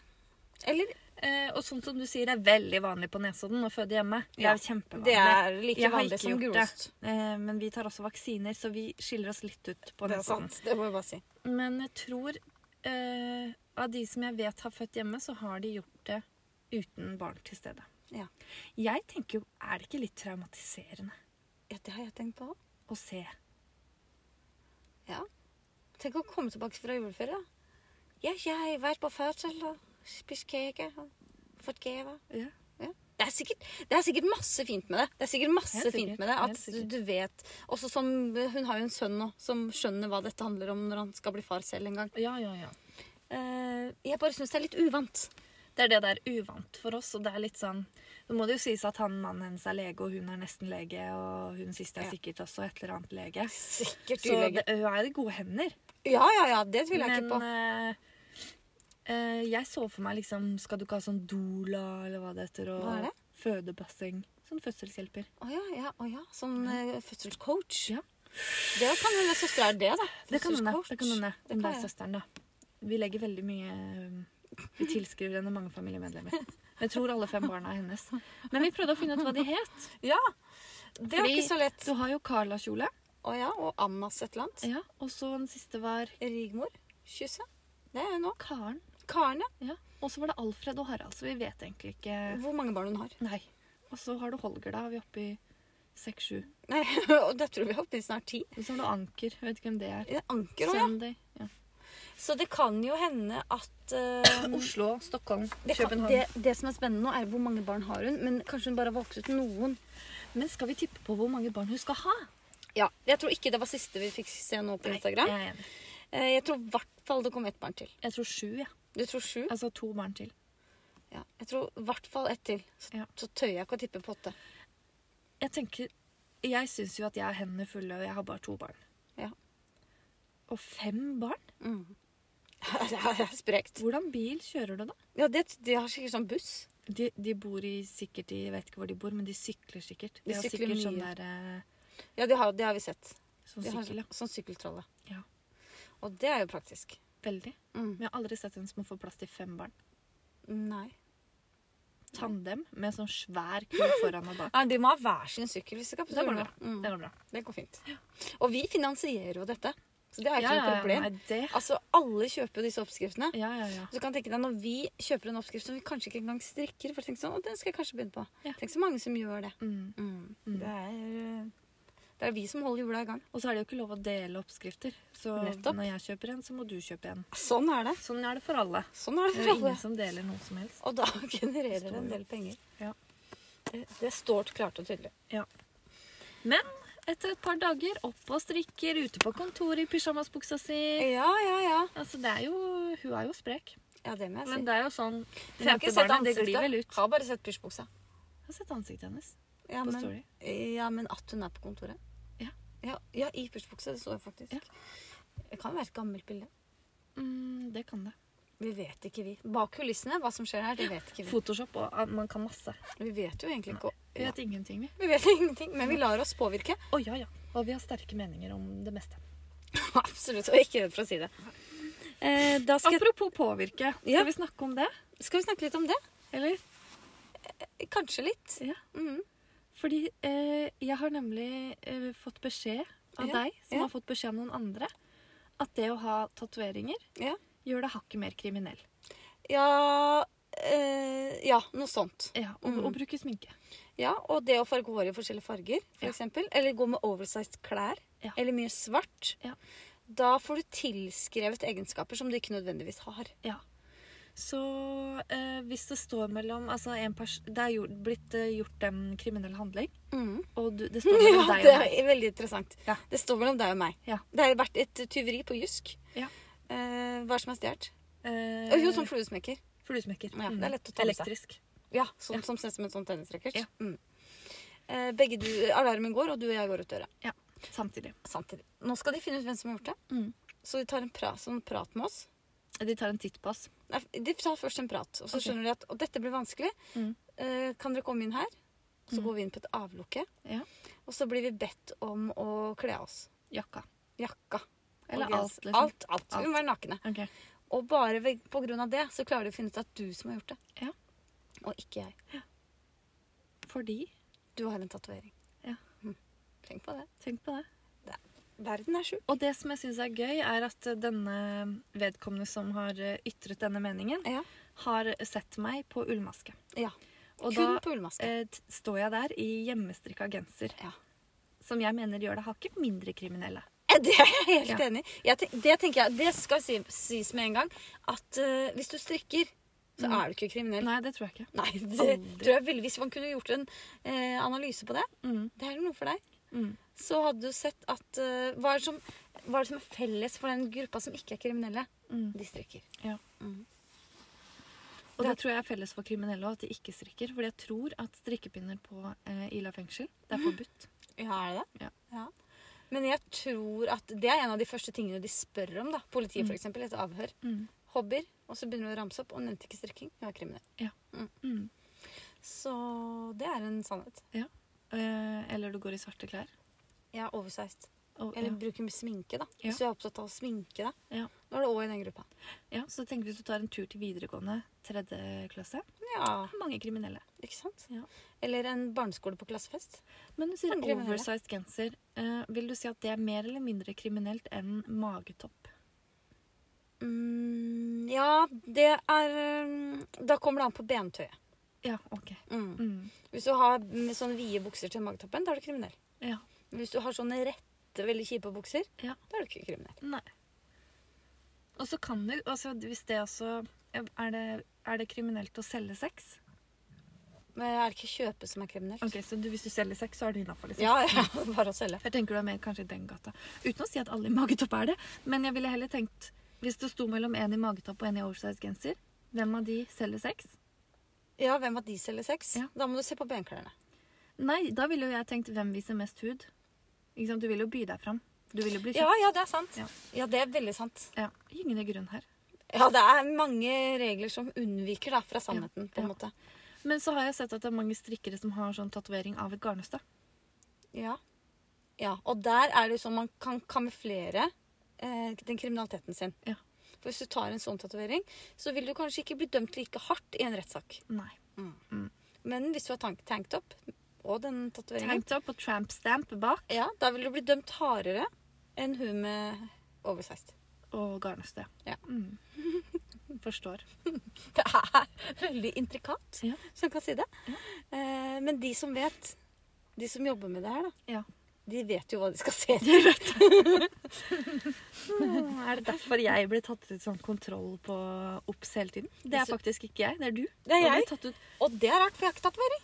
Eller Eh, og sånn som du sier, det er veldig vanlig på Nesodden å føde hjemme. Det Ja, er kjempevanlig. det er like Jeg har vanlig ikke som gjort gulost. det, eh, men vi tar også vaksiner, så vi skiller oss litt ut på Det er Nesodden. sant. Det må jeg bare si. Men jeg tror eh, av de som jeg vet har født hjemme, så har de gjort det uten barn til stede. Ja. Jeg tenker jo, er det ikke litt traumatiserende Ja, det har jeg tenkt på òg. å se? Ja. Tenk å komme tilbake fra juleferie. da. Ja, jeg har vært på fødsel og spist kake og fått gave. Ja. Ja. Det, er sikkert, det er sikkert masse fint med det. Det er sikkert masse Helt sikkert, fint med det helt At du, sikkert. du vet Også som Hun har jo en sønn nå som skjønner hva dette handler om når han skal bli far selv en gang. ja, ja, ja. Eh, jeg bare syns det er litt uvant. Det er det der uvant for oss, og det er litt sånn Nå må det jo sies at han mannen hennes er lege, og hun er nesten lege, og hun siste er Ja. sikkert også et eller annet lege. Sikkert Så det, hun er i gode hender. Ja, ja, ja. Det tviler jeg Men ikke på. eh, eh, jeg så for meg liksom Skal du ikke ha sånn doula, eller hva det heter? Og Hva er det? fødebasseng. Sånn fødselshjelper. Å ja, ja, å ja. Som eh, fødselscoach. Ja. Det kan hende søstera er det, da. Det kan hende. Fødselscoach. Det kan hende. Det Om det kan er jeg. søsteren, da. Vi legger veldig mye eh, Vi tilskriver henne mange familiemedlemmer. Jeg tror alle fem barna er hennes. Men vi prøvde å finne ut hva de het. Ja. Det var Fordi ikke så lett. Du har jo Carla-kjole. Å ja, og Annas et eller annet. Ja, og så den siste var Rigmor. Kysse. Det er hun òg. Karen. Karen, ja. Ja. Og så var det Alfred og Harald, så vi vet egentlig ikke Hvor mange barn hun har. Nei. Og så har du Holger, da. Vi er oppe i seks-sju. Nei, og det tror vi er oppe i snart ti. Og så har du Anker. Jeg vet ikke hvem det er. Det er Anker òg, ja. Sunday. Ja. Så det kan jo hende at eh, Oslo, Stockholm, det, kan, København. det, det som er spennende nå, er hvor mange barn har hun. Men kanskje hun bare har valgt ut noen. Men skal vi tippe på hvor mange barn hun skal ha? Ja, Jeg tror ikke det var siste vi fikk se nå på Instagram. Jeg, er enig. Eh, Jeg tror i hvert fall det kom ett barn til. jeg tror sju, ja. Du tror sju? Altså to barn til. Ja. Jeg tror i hvert fall ett til. Så, Ja. så tør jeg ikke å tippe på åtte. Jeg tenker Jeg syns jo at jeg har hendene fulle, og jeg har bare to barn. Ja. Og fem barn? Mm. det er det er sprekt. Hvordan bil kjører du, da? Ja, det, de har sikkert sånn buss. De, de bor i sikkert i, Jeg vet ikke hvor de bor, men de sykler sikkert. De, De har sykler sikkert sånn mye. der eh, Ja, de har, det har vi sett. Sånn De har, sykkel, ja. Sånn sykkeltralle. Ja. Og det er jo praktisk. Veldig. Mm. Men jeg har aldri sett en som får plass til fem barn. Nei. Tandem med sånn svær ku foran og bak. Nei, De må ha hver sin sykkel. hvis de skal på Det går tur nå. bra. Mm. Det går bra. Det går fint. Og vi finansierer jo dette. Så det er ikke noe problem. Nei, det Altså, Alle kjøper jo disse oppskriftene. Ja, ja, ja. Så du kan tenke deg, Når vi kjøper en oppskrift som vi kanskje ikke engang strikker for tenk sånn, å, den skal jeg kanskje begynne på. Ja. Tenk så mange som gjør det. Mm. Mm. Det, er, eh, det er vi som holder hjula i gang. Og så er det jo ikke lov å dele oppskrifter. Så Nettopp. når jeg kjøper en, så må du kjøpe en. Sånn er det. Sånn er det for alle. Sånn er Det det er jo for alle. ingen som deler noe som helst. Og da genererer det Står en jo. del penger. Ja. Det, det står klart og tydelig. Men etter et par dager opp og strikker, ute på kontoret i pysjamasbuksa si Ja, ja, ja. Altså, det er jo Hun er jo sprek. Ja, det må jeg si. Men det er jo sånn Men jeg har ikke sett Femtebarnet, det glir vel ansiktet. ut. Har bare sett pysjbuksa. Jeg har sett ansiktet hennes Ja, på men- Story. Ja, men at hun er på kontoret? Ja. Ja, ja i pysjbukse. Det så jeg faktisk. Ja. Det kan være et gammelt bilde. Mm, det kan det. Vi vet ikke, vi. Bak kulissene, hva som skjer her, det vet ikke vi. Photoshop og ah, Man kan masse. Vi vet jo egentlig ikke Vi ja. vet ingenting, vi. Vi vet ingenting, men vi lar oss påvirke. Å ja, ja. Og vi har sterke meninger om det meste. Absolutt. Og ikke redd for å si det. Eh, da skal, Apropos påvirke. Skal Ja. vi snakke om det, skal vi snakke litt om det. eller? Kanskje litt. Ja. Mhm. Fordi eh, jeg har nemlig eh, fått beskjed av Ja, deg, som ja. har fått beskjed av noen andre, at det å ha tatoveringer Ja. gjør deg hakket mer kriminell. Ja, eh, ja, noe sånt. Ja, og, Mm. og bruke sminke. Ja, Og det å farge håret i forskjellige farger, for Ja. eksempel. Eller gå med oversized klær. Ja. Eller mye svart. Ja. Da får du tilskrevet egenskaper som du ikke nødvendigvis har. Så eh, hvis det står mellom altså en pers Det er gjort, blitt eh, gjort en kriminell handling, og Mm. du, det står Ja, mellom deg det og meg. er veldig interessant. Ja. Det står mellom deg og meg. Ja. Det har vært et tyveri på Jysk. Ja. Eh, hva er det som er stjålet? Eh, Jo, sånn fluesmekker. fluesmekker. Ja, Mm. det er lett å ta med seg. Elektrisk. Ja, sånn, Ja. Som ser ut som en sånn tennisracket. Ja. Mm. Eh, begge du, alarmen går, og du og jeg går ut døra. Samtidig. Samtidig. Nå skal de finne ut hvem som har gjort det. Mm. Så de tar en pra sånn prat med oss. De tar en titt på oss. Nei, de tar først en prat, og så Ok. skjønner de at «Å, dette blir vanskelig. Mm. Eh, kan dere komme inn her? Og så Mm. går vi inn på et avlukke. Ja. Og så blir vi bedt om å kle av oss. Jakka. Jakka. og Eller genser. alt, liksom. Alt, alt. Vi må være nakne. Ok. Og bare ved, på grunn av det så klarer de å finne ut at du som har gjort det. Ja. Og ikke jeg. Fordi Du har en tatovering. Ja. Mm. Tenk på det. Tenk på det. Verden er sjuk. Og det som jeg syns er gøy, er at denne vedkommende som har eh, ytret denne meningen, Ja. har sett meg på ullmaske. Ja. Og Kun da på ullmaske. eh, t- står jeg der i hjemmestrikka genser, Ja. som jeg mener gjør deg hakket mindre kriminelle. Eh, Det er jeg helt Ja. enig i. Jeg tenk- Det tenker jeg, det skal si, sies med en gang, at eh, hvis du strikker, så Mm. er du ikke kriminell. Nei, det tror jeg ikke. Nei, det Aldri. tror jeg veldig Hvis man kunne gjort en eh, analyse på det Mm. Det er jo noe for deg Mm. Så hadde du sett at eh, hva, er det som, hva er det som er felles for den gruppa som ikke er kriminelle? Mm. De strikker Ja. mm. Og det Det- tror jeg er felles for kriminelle òg, at de ikke strikker. Fordi jeg tror at strikkepinner på eh, Ila fengsel, det er forbudt. Ja, er det det? Ja. Men jeg tror at det er en av de første tingene de spør om da Politiet for eksempel, etter avhør Mm. Hobbyer, og så begynner du å ramse opp Og nevnte ikke strikking, jeg er kriminell Mm. Så det er en sannhet Eh, eller du går i svarte klær. Jeg er oversized Og, Eller ja. bruker sminke da Ja. Hvis du er opptatt av å sminke deg Ja. Da er du også i den gruppa Ja, så tenk hvis du tar en tur til videregående, tredje klasse. Ja Mange kriminelle. Ikke sant? Ja. Eller en barneskole på klassefest. Men du sier Kan kriminelle. oversized genser. Eh, vil du si at det er mer eller mindre kriminelt enn magetopp? Mm, ja, det er um, Da kommer det an på bentøyet. Ja, ok. Mm. Mm. Hvis du har mm, sånne vide bukser til magetoppen, da er du kriminell. Ja. Men Hvis du har sånne rette, veldig kjipe bukser, Ja. da er du ikke kriminell. Nei. Og så kan du altså, Hvis det også Er det, er det kriminelt å selge sex? Men er det ikke kjøpe som er kriminelt? Ok, Så du, hvis du selger sex, så er det innafor? Liksom. Ja, ja, bare å selge. Jeg tenker du er mer kanskje i den gata. Uten å si at alle i magetopp er det, men jeg ville heller tenkt Hvis det sto mellom en i magetopp og en i oversize genser, hvem av de selger sex? Ja, hvem av de selger sex? Ja. Da må du se på benklærne. Nei, da ville jo jeg tenkt hvem viser mest hud. Ikke sant? Du vil jo by deg fram. Du vil jo bli Ja, kjent. ja, det er sant. Ja. Ja. det er veldig sant. Ja. Gyngende grunn her. Ja, det er mange regler som unnviker da, fra sannheten, på en Ja. måte. Men så har jeg sett at det er mange strikkere som har sånn tatovering av et garnnøste. Ja. ja. Og der er det jo sånn man kan kamuflere eh, den kriminaliteten sin. Ja. For hvis du tar en sånn tatovering, så vil du kanskje ikke bli dømt like hardt i en rettssak. Nei. Men hvis du har tank tanktop og den tatoveringen, Tanktop og tramp stamp bak ja, da vil du bli dømt hardere enn hun med oversized. og garnnøste. Ja. Mm. Forstår. Det er veldig intrikat, Ja. som kan si det. Eh, men de som vet, de som jobber med det her, da, Ja. de vet jo hva de skal se etter. Er det derfor jeg blir tatt ut sånn kontroll på OBS hele tiden? Det er faktisk ikke jeg, det er du. Det er Du har jeg. blitt Tatt ut. Og det er rart, for jeg har ikke tatovering.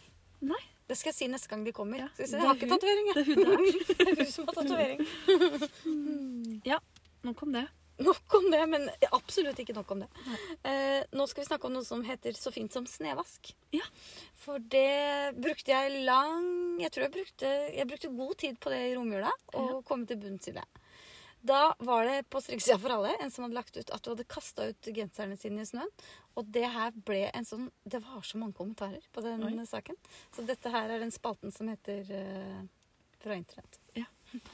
Nei, Det skal jeg si neste gang de kommer. Ja, Skal jeg si, det jeg har er ikke hun. tatovering, jeg. det er hun der. Det er du som har tatovering. Ja, nok om det. Nok om det, men absolutt ikke nok om det. Eh, nå skal vi snakke om noe som heter så fint som snevask. Ja. For det brukte jeg lang Jeg tror jeg brukte, jeg brukte god tid på det i romjula, og kom til bunns i det. Da var det på Strikkesida for alle en som hadde lagt ut at du hadde kasta ut genserne sine i snøen. Og det her ble en sånn Det var så mange kommentarer på den Oi. saken. Så dette her er den spalten som heter eh, Fra internett. Ja.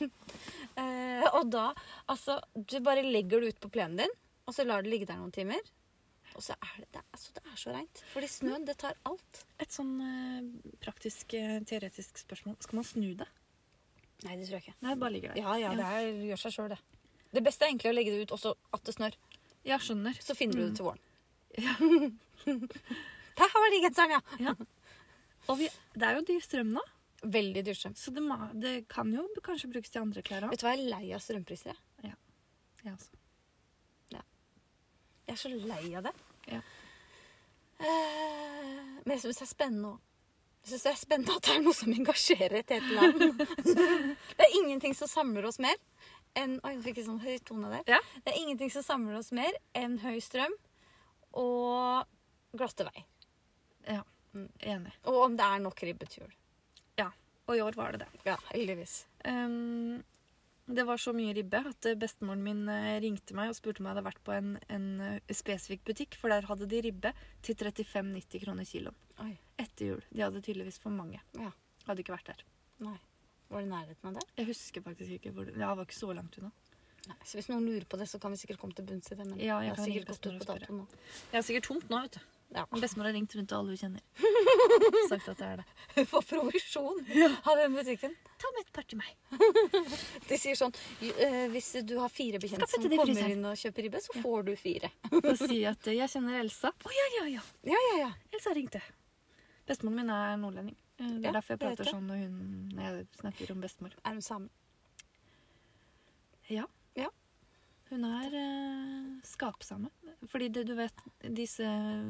Eh, og da Altså, du bare legger det ut på plenen din, og så lar det ligge der noen timer. Og så er det, det, er- altså, det er så reint. Fordi snøen, det tar alt. Et sånn eh, praktisk, eh, teoretisk spørsmål. Skal man snu det? Nei, det tror jeg ikke. Nei, det bare ligger der. Ja, ja, det er, gjør seg sjøl, det. Det beste er egentlig å legge det ut også at det snør. Ja, skjønner. Så finner du Mm. det til våren. Der var de genserne, ja! Og vi, det er jo dyr strøm nå, Veldig dyrstrøm. så det, ma- det kan jo kanskje brukes til andre klær òg. Vet du hva, jeg er lei av strømpriser, jeg. Ja, altså. Jeg er så lei av det. Ja. Eh, men jeg syns det er spennende òg. Jeg syns det er spennende at det er noe som engasjerer et helt land. det er ingenting som samler oss mer enn Oi, nå fikk jeg sånn høy tone der. Ja. Det er ingenting som samler oss mer enn høy strøm og glatte vei. Ja, Mm. Enig. Og om det er nok ribbet hjul. Og i år var det det. Ja, heldigvis. Ehm, det var så mye ribbe at eh, bestemoren min eh, ringte meg og spurte om jeg hadde vært på en, en eh, spesifikk butikk, for der hadde de ribbe til 35,90 kroner kiloen. Oi, Etter jul. De hadde tydeligvis for mange. Ja. Hadde ikke vært der. nei. Var det nærheten av det? Jeg husker faktisk ikke hvor det Ja, det var ikke så langt unna. Nei. Så hvis noen lurer på det, så kan vi sikkert komme til bunns i det. Men Ja, jeg det kan har ringe sikkert gått ut bestemor på og spørre. dato nå. Det er sikkert tomt nå, vet du. Ja. Men Bestemor har ringt rundt til alle hun kjenner. Sagt at det er det. Få provisjon av den butikken. Ta med et par til meg. De sier sånn eh, Hvis du har fire bekjente Skaff som etter det kommer fryseren. inn og kjøper ribbe, så får du fire. Og si at eh, jeg kjenner Elsa. Å ja, ja, ja. Ja, ja, ja. Elsa ringte. Bestemoren min er nordlending. Eh, Det Ja, er derfor jeg det vet prater jeg. sånn når, hun, når jeg snakker om bestemor. Er hun same? Ja. Ja. Hun er eh, skapsame. Fordi det, du vet, disse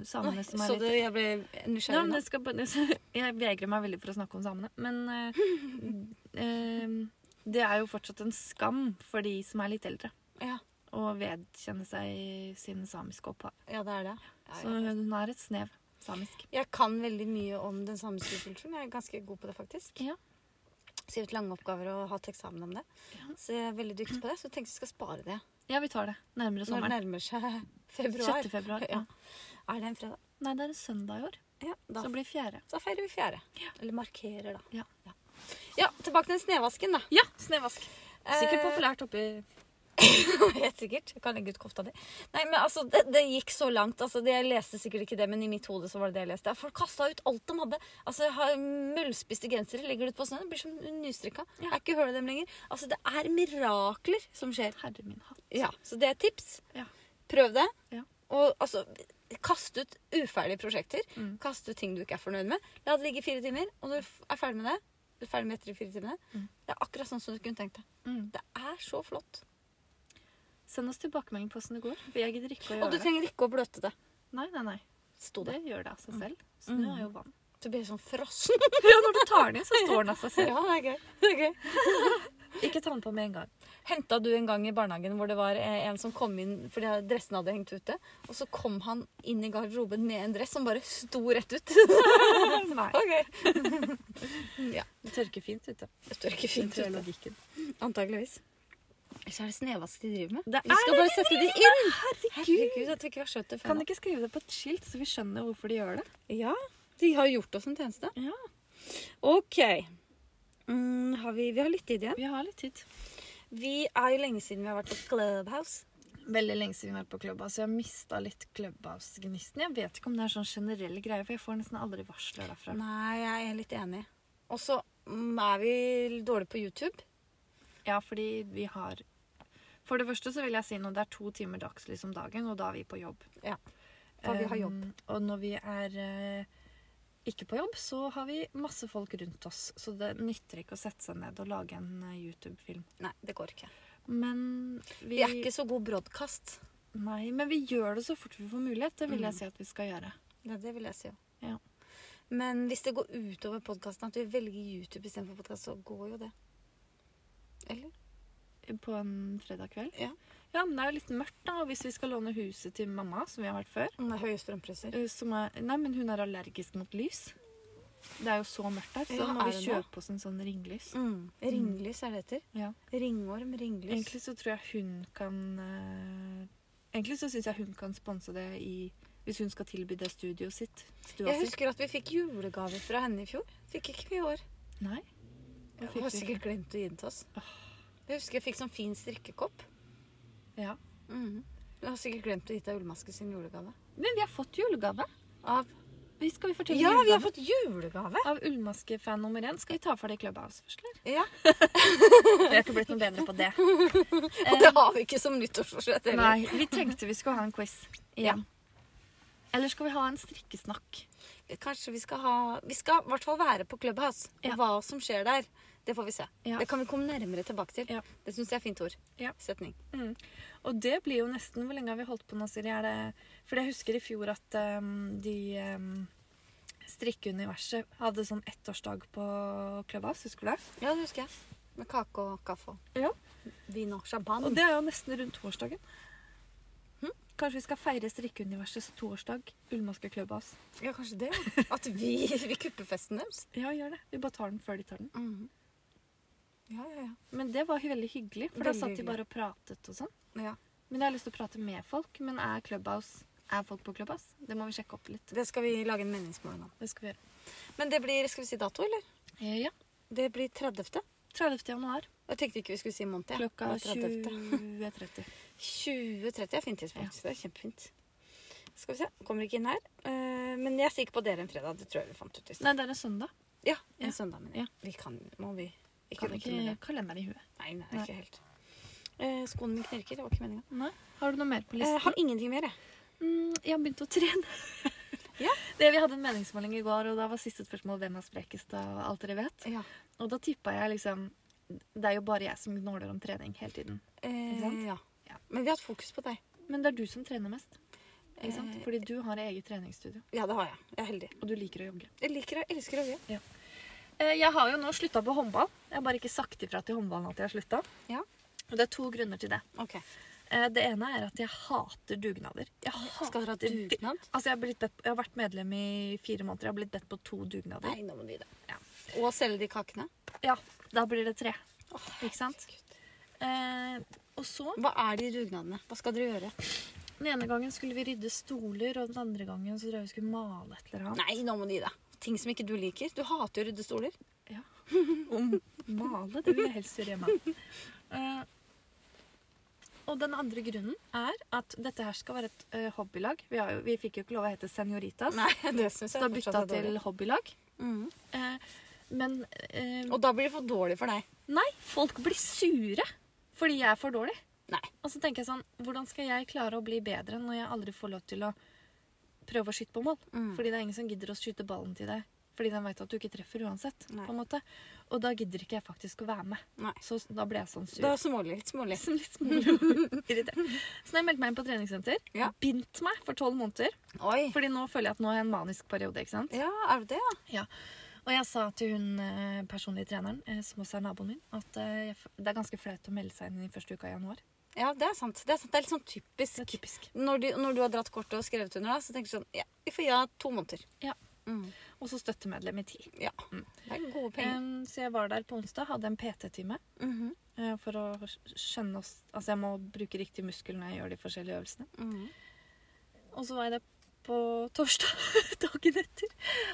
samene som er Så det, jeg ble Nei, nysgjerrig men nå. det skal, bare- jeg vegrer meg veldig for å snakke om samene. Men eh, eh, det er jo fortsatt en skam for de som er litt eldre, Ja, å vedkjenne seg sin samiske opphav. ja, det er det. Så Ja, ja. hun har et snev samisk. Jeg kan veldig mye om den samiske kulturen. Jeg er ganske god på det, faktisk. Ja. Skrevet lange oppgaver og hatt eksamen om det. Ja. Så jeg er veldig dyktig på det. Så jeg tenkte jeg skal spare det. Ja, vi tar det. Nærmere Når det sommeren. nærmer seg februar. 6. februar. Ja. Ja. Er det en fredag? Nei, det er en søndag i år. Ja, da Så det blir fjerde. Så da feirer vi fjerde. Eller markerer, da. Ja. Ja. ja, tilbake til den snevasken, da. Ja, snevask. Sikkert Eh, populært oppi Helt sikkert. Jeg kan legge ut kofta di. Nei, men altså, det, det gikk så langt. Altså, det, jeg leste sikkert ikke det, men i mitt hode så var det det jeg leste. Folk kasta ut alt de hadde. Altså, jeg har Møllspiste gensere legger det ut på snøen. Det blir som nystrikka. Ja. Er ikke høl i dem lenger. Altså, det er mirakler som skjer. Herre min hatt. Ja, Så det er et tips. Ja. Prøv det. Ja. Og altså Kast ut uferdige prosjekter. Mm. Kast ut ting du ikke er fornøyd med. La det ligge i fire timer, og når du f- er ferdig med det du er ferdig med etter de fire timene. Mm. Det er akkurat sånn som du kunne tenkt deg. Mm. Det er så flott. Send oss tilbakemelding på åssen det går. For jeg gidder ikke å Og gjøre du det. trenger ikke å bløte det. Nei, nei, nei. Sto det. Mm. Det gjør det av seg selv. Snø er jo vann. Så blir jeg sånn frossen. Ja, når du tar den i, så står den av seg selv. Ja, det er gøy. Det er gøy. Ikke ta den på med en gang. Henta du en gang i barnehagen hvor det var eh, en som kom inn fordi dressen hadde hengt ute, og så kom han inn i garderoben med en dress som bare sto rett ut? Nei. ok. ja. Det tørker fint ute. Det står ikke fint ut, logikken. antageligvis. Ellers er det snevask de driver med. Det Vi skal er bare sette de inn! Herregud. Herregud, at vi ikke har skjønt det før Kan nå. de ikke skrive det på et skilt, så vi skjønner hvorfor de gjør det? Ja, de har gjort oss en tjeneste. Ja. Ok. Mm, har vi, vi har litt tid igjen. Vi har litt tid. Vi er jo lenge siden vi har vært på Clubhouse. Veldig lenge siden vi har vært på Clubhouse. så Jeg har mista litt Clubhouse-gnisten. Jeg vet ikke om det er sånn generell greie, for jeg får nesten aldri varsler derfra. Nei, jeg er litt enig. Og så mm, er vi dårlige på YouTube. Ja, fordi vi har For det første så vil jeg si når det er to timer dagslys om dagen, og da er vi på jobb. Ja, for vi har Eh, jobb. og når vi er eh, ikke på jobb, så har vi masse folk rundt oss. Så det nytter ikke å sette seg ned og lage en eh, YouTube-film. Nei, det går ikke. Men vi, Vi er ikke så god broadcast. Nei, men vi gjør det så fort vi får mulighet. Det Mm. vil jeg si at vi skal gjøre. Ja, det vil jeg si òg. Ja. Men hvis det går utover podkasten, at vi velger YouTube istedenfor podkast, så går jo det. Eller? På en fredag kveld. Ja. Ja, men det er jo litt mørkt, da. Og hvis vi skal låne huset til mamma, som vi har vært før Med høye strømpriser. eh, som er, Nei, men hun er allergisk mot lys. Det er jo så mørkt der, så Ja, må er vi det det? kjøpe oss en sånn ringlys. Mm. Ringlys er det heter. Ja. Ringorm, ringlys. Egentlig så tror jeg hun kan eh, Egentlig så syns jeg hun kan sponse det i Hvis hun skal tilby det studioet sitt. Stua Jeg si. husker at vi fikk julegave fra henne i fjor. Fikk ikke vi i år. Nei. Hva Hun fikk har vi? sikkert glemt å gi den til oss. Jeg husker jeg fikk sånn fin strikkekopp. Ja. Mm. Hun har sikkert glemt å gi deg ullmaske sin julegave. Men vi har fått julegave. Av Vi skal vi fortelle Ja, vi har julegave? fått julegave! Av ullmaskefan nummer én. Skal vi ta for det Clubhouse først, eller? Ja. Vi har ikke blitt noe bedre på det. Og det har vi ikke som nyttårsforsett heller. Nei, vi tenkte vi skulle ha en quiz igjen. Eller skal vi ha en strikkesnakk? Kanskje vi skal ha Vi skal i hvert fall være på Clubhouse. Og Ja. hva som skjer der, det får vi se. Ja. Det kan vi komme nærmere tilbake til. Ja. Det syns jeg er fint ord. Ja. Setning. Mm. Og det blir jo nesten Hvor lenge har vi holdt på nå, Siri? Er det, fordi jeg husker i fjor at ehm, de ehm, Strikkeuniverset hadde sånn ettårsdag på Clubhouse, husker du det? Ja, det husker jeg. Med kake og kaffe og Ja. vin og champagne. Og det er jo nesten rundt toårsdagen. Hm? Kanskje vi skal feire Strikkeuniversets toårsdag, Ullmaske Clubhouse. Ja, kanskje det. ja. At vi, vi kupper festen deres. Ja, gjør det. Vi bare tar den før de tar den. Mhm. Ja, ja, ja. Men det var veldig hyggelig, for da Veldig satt de hyggelig. bare og pratet og sånn. ja. Men jeg har lyst til å prate med folk, men er Clubhouse Er folk på Clubhouse? Det må vi sjekke opp litt. Det skal vi lage en meningsmåling om. Det skal vi gjøre. Men det blir Skal vi si dato, eller? Eh, Ja. Det blir 30. 30. januar Jeg tenkte ikke vi skulle si måned. jeg. klokka Det er 30.. 20.30. 20.30 er fint tidspunkt. Det er kjempefint. Skal vi se. Kommer ikke inn her. Eh, men jeg sier ikke på dere en fredag. Det tror jeg vi fant ut i sted. Nei, det er en søndag. Ja, en Ja. søndag, mener jeg. Ja. Vi kan Må vi ikke Kan rote ikke med det? kalender i huet. Nei, nei, Nei. ikke helt. Eh, skoen min knirker. Det var ikke meninga. Nei. Har du noe mer på Eh, listen? har ingenting mer, jeg. Mm, jeg har begynt å trene. Ja. Det, vi hadde en meningsmåling i går, og da var siste spørsmål hvem er sprekest av alt dere vet. Ja. Og da tippa jeg liksom Det er jo bare jeg som gnåler om trening hele tiden. Ikke sant? Eh, ja. Ja. Men vi har hatt fokus på deg. Men det er du som trener mest. Ikke sant? Eh, Fordi du har eget treningsstudio, Ja, det har jeg. Jeg er heldig. og du liker å jogge. Jeg liker og elsker å gjøre. Eh, Jeg har jo nå slutta på håndball. Jeg har bare ikke sagt ifra til håndballen at jeg har slutta. Ja. Og det er to grunner til det. Ok. Eh, Det ene er at jeg hater dugnader. Jeg Skal dere ha dugnad? Altså, jeg har, blitt bedt, jeg har vært medlem i fire måneder. Jeg har blitt bedt på to dugnader. Nei, nå må du gi deg. Ja. Og selge de kakene? Ja, da blir det tre. Åh, Ikke sant? Eh, og så Hva er de dugnadene? Hva skal dere gjøre? Den ene gangen skulle vi rydde stoler, og den andre gangen så tror jeg vi skulle male et eller annet. Nei, nå må du gi deg. Ting som ikke du liker. Du hater jo å rydde stoler. Om male? Det vil jeg helst gjøre hjemme. Eh, og den andre grunnen er at dette her skal være et eh, hobbylag. Vi, har jo, vi fikk jo ikke lov å hete Senoritas. Nei, det syns jeg så da fortsatt bytta er dårlig. til hobbylag. Mhm. Eh, men eh, Og da blir det for dårlig for deg. Nei, folk blir sure fordi jeg er for dårlig. Nei. Og så tenker jeg sånn, hvordan skal jeg klare å bli bedre når jeg aldri får lov til å prøve å skyte på mål? Mm. Fordi det er ingen som gidder å skyte ballen til deg. Fordi den veit at du ikke treffer uansett. Nei. på en måte. Og da gidder ikke jeg faktisk å være med. Nei. Så s- da ble jeg sånn sur. Da smålig. Litt smålig. Liksom litt smålig. Irritert. Så da jeg meldte meg inn på treningssenter, Ja. bindt meg for tolv måneder. Oi. Fordi nå føler jeg at nå er jeg i en manisk periode. ikke sant? Ja, er det det, ja? Og jeg sa til hun eh, personlige treneren, eh, som også er naboen min, at eh, jeg f- det er ganske flaut å melde seg inn i første uka i januar. Ja, det er sant. Det er, sant. Det er litt sånn typisk. Det er typisk. Når, de, når du har dratt kortet og skrevet under, da, så tenker du sånn Ja, vi får ja to måneder. Ja. Mm. Og så støttemedlem i ti. ja. Mm. Det er gode penger. Em, så jeg var der på onsdag, hadde en PT-time Mhm, eh, for å sk- skjønne oss Altså jeg må bruke riktig muskel når jeg gjør de forskjellige øvelsene. mhm. Og så var jeg der på torsdag dagen etter.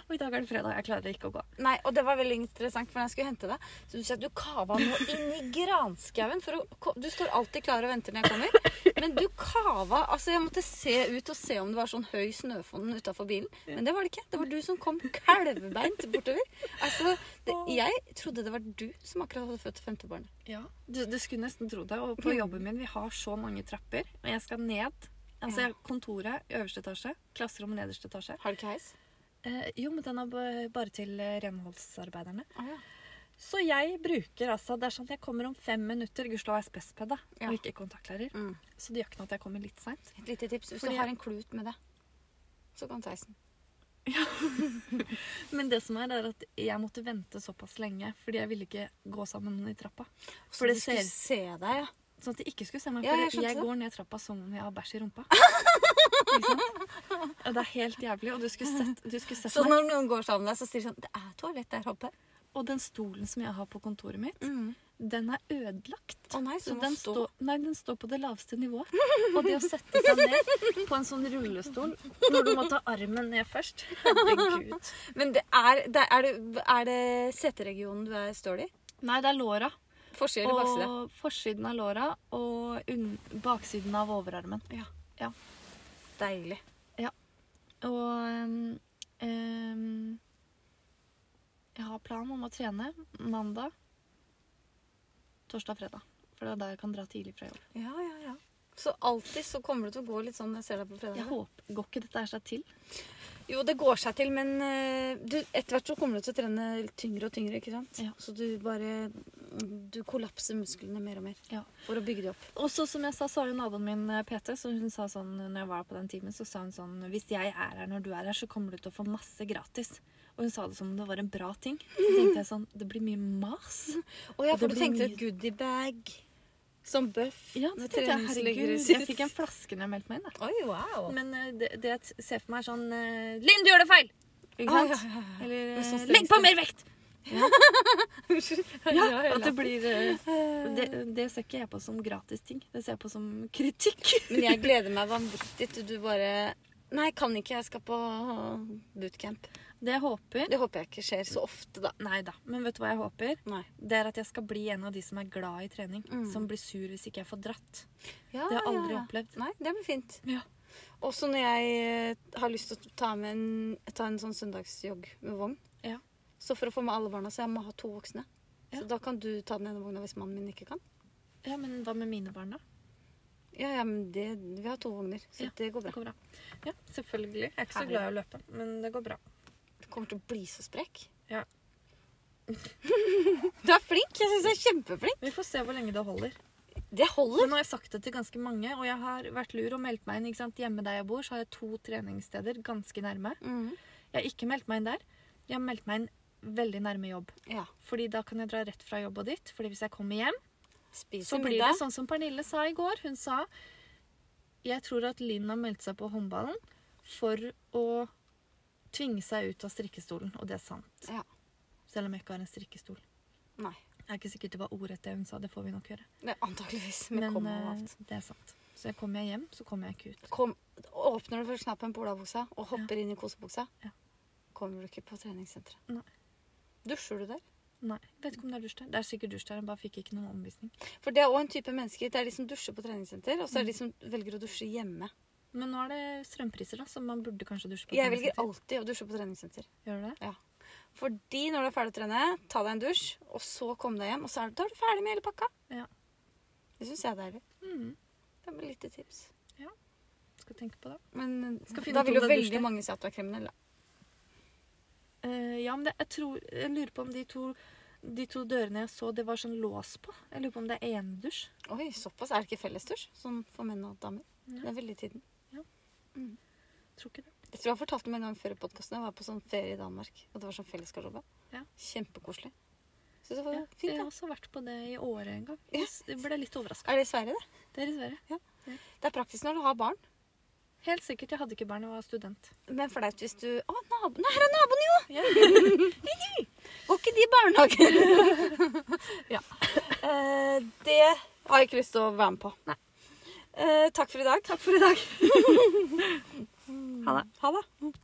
Og i dag er det fredag. Jeg klarer ikke å gå. Nei, og det var veldig interessant, for når jeg skulle hente deg, så du sier at du kava nå inn i granskauen. For å, ko- du står alltid klar og venter når jeg kommer. Men du kava Altså, jeg måtte se ut og se om det var sånn høy snøfonn utafor bilen. Men det var det ikke. Det var du som kom kalvebeint bortover. Altså, det, jeg trodde det var du som akkurat hadde født femte barnet. Ja, du, du skulle nesten tro det. Og på jobben min, vi har så mange trapper. Og jeg skal ned. Altså Ja. jeg- kontoret i øverste etasje, klasserommet i nederste etasje. Har du ikke heis? Eh, jo, men den er ba- bare til eh, renholdsarbeiderne. Å ja. Så jeg bruker altså Det er sånn at jeg kommer om fem minutter. Gudskjelov er jeg spesped, da, Ja. og ikke kontaktlærer. Mm. Så det gjør ikke noe at jeg kommer litt seint. Et lite tips. Hvis Fordi du har jeg- en klut med det, så kan du ta heisen. Men det som er, er at jeg måtte vente såpass lenge fordi jeg ville ikke gå sammen med noen i trappa. For det de skulle ser- se deg, ja. Sånn at de ikke skulle se meg. Ja, For jeg jeg, skjønte det. går ned trappa som om jeg har bæsj i rumpa. Ikke sant? Og det er helt jævlig. Og du skulle sett, du skulle sett Så meg. når noen går sammen med deg, så sier de sånn Det er toalett der oppe. Og den stolen som jeg har på kontoret mitt, Å den er ødelagt. nei, så, Så må den, stå. står- nei, den står på det laveste nivået. Og det å sette seg ned på en sånn rullestol når du må ta armen ned først Herregud. Men det er, det er, det, er det seteregionen du er, står det i? Nei, det er låra. Forside eller bakside? Og forsiden av låra og unn- baksiden av overarmen. Deilig. Og ehm, øhm, øhm, jeg har plan om å trene mandag, torsdag, fredag. For det er da jeg kan dra tidlig fra jobb. Ja, ja, ja. Så alltid så kommer du til å gå litt sånn når jeg ser deg på Jeg fredag. håper, Går ikke dette her seg til? Jo, det går seg til, men eh, du, etter hvert så kommer du til å trene tyngre og tyngre, ikke sant? Ja. Så du bare Du kollapser musklene mer og mer Ja. for å bygge de opp. Og så som jeg sa, så har jo naboen min eh, PT, så hun sa sånn når jeg var på den timen, så sa hun sånn Hvis jeg er her når du er her, så kommer du til å få masse gratis. Og hun sa det som om det var en bra ting. Så tenkte jeg sånn Det blir mye mas. Å ja, Og for du det blir tenkte mye- goodiebag som bøff. Ja, så med tenkte jeg, treningslegger herregud, i sitt. jeg fikk en flaske når jeg meldte meg inn. da. Oi, wow. Men eh, det, det jeg t- ser for meg er sånn eh, Linn, du gjør det feil! Ikke Å, sant? ja, ja, ja. Eller Med sånn eh, Legg på stemme. mer vekt! Unnskyld. Ja, Ja, jeg at det la- blir eh, det, det ser ikke jeg på som gratis ting. Det ser jeg på som kritikk. Men jeg gleder meg vanvittig til du bare Nei, kan ikke. Jeg skal på bootcamp. Det jeg håper Det håper jeg ikke skjer så ofte, da. Nei da. Men vet du hva jeg håper? Nei. Det er at jeg skal bli en av de som er glad i trening. Mm. Som blir sur hvis ikke jeg får dratt. Ja, Det har jeg ja, aldri ja. opplevd. Nei, det blir fint. Ja. Også når jeg eh, har lyst til å ta, med en, ta en sånn søndagsjogg med vogn. Ja. Så for å få med alle barna, så jeg må ha to voksne. Ja. Så da kan du ta den ene vogna hvis mannen min ikke kan. Ja, men hva med mine barn, da? Ja, ja, men det, vi har to vogner, så Ja, det går Det bra. går bra. Ja, selvfølgelig. Jeg er ikke så Herlig. glad i å løpe, men det går bra. Du kommer til å bli så sprekk. Ja. du er flink. Jeg syns du er kjempeflink. Vi får se hvor lenge det holder. Det holder. Men nå har jeg sagt det til ganske mange, og jeg har vært lur og meldt meg inn. ikke sant? Hjemme der jeg bor, så har jeg to treningssteder ganske nærme. Mhm. Jeg har ikke meldt meg inn der. Jeg har meldt meg inn veldig nærme jobb. Ja. Fordi da kan jeg dra rett fra jobb og dit. Fordi hvis jeg kommer hjem Spiser Så blir det sånn som Pernille sa i går. Hun sa jeg tror at Linn har meldt seg på håndballen for å tvinge seg ut av strikkestolen. Og det er sant. sånn- Ja. Selv om jeg ikke har en strikkestol. Nei. Jeg er ikke sikkert det var ordrett det hun sa. Det får vi nok gjøre. Det er antakeligvis. Med Men kom og eh, alt. det er sant. Så jeg kommer jeg hjem, så kommer jeg ikke ut. Kom, åpner du først knappen på olabuksa og hopper inn i kosebuksa, Ja. kommer du ikke på treningssenteret. Nei. Dusjer du der? Nei, vet ikke om det er dusj der. Det er sikkert dusj der. Jeg bare fikk ikke noen omvisning. For det er òg en type mennesker. Det er de som dusjer på treningssenter, og så Mm. er det de som velger å dusje hjemme. Men nå er det strømpriser, da, så man burde kanskje dusje på Jeg velger treningssenter. alltid å dusje på treningssenter. Gjør du det? Fordi når du er ferdig å trene, ta deg en dusj, og så komme deg hjem, og så er du, da er du ferdig med hele pakka. Ja. Det syns jeg er deilig. Mhm. Det er et lite tips. Skal tenke på det. Men eh, Skal finne da ut vil om jo det er dusj veldig der. mange si at du er kriminell. da. Eh, ja, men det, jeg, tror, jeg lurer på om de to de to dørene jeg så, det var sånn lås på. Jeg lurer på om det er enedusj. Oi, såpass. Er det ikke fellesdusj sånn for menn og damer? Ja. Det er veldig tiden. Tror ikke det. Jeg tror jeg fortalte om en gang før i podkasten. Jeg var på sånn ferie i Danmark. Og det var sånn fellesgarderobe. Ja. Kjempekoselig. Så det var Ja, jeg fint, har da. også vært på det i året en gang. Ja. Jeg ble litt overraska. Er det i Sverige, det? Det er dessverre. Det er praktisk når du har barn. Helt sikkert. Jeg hadde ikke barn da jeg var student. Men flaut hvis du Å, nabo... Nei, her er naboen, jo! Går ikke de i barnehagen? ja. Eh, det har jeg ikke lyst til å være med på. Nei. Eh, takk for i dag. Takk for i dag. Ha det. Ha det.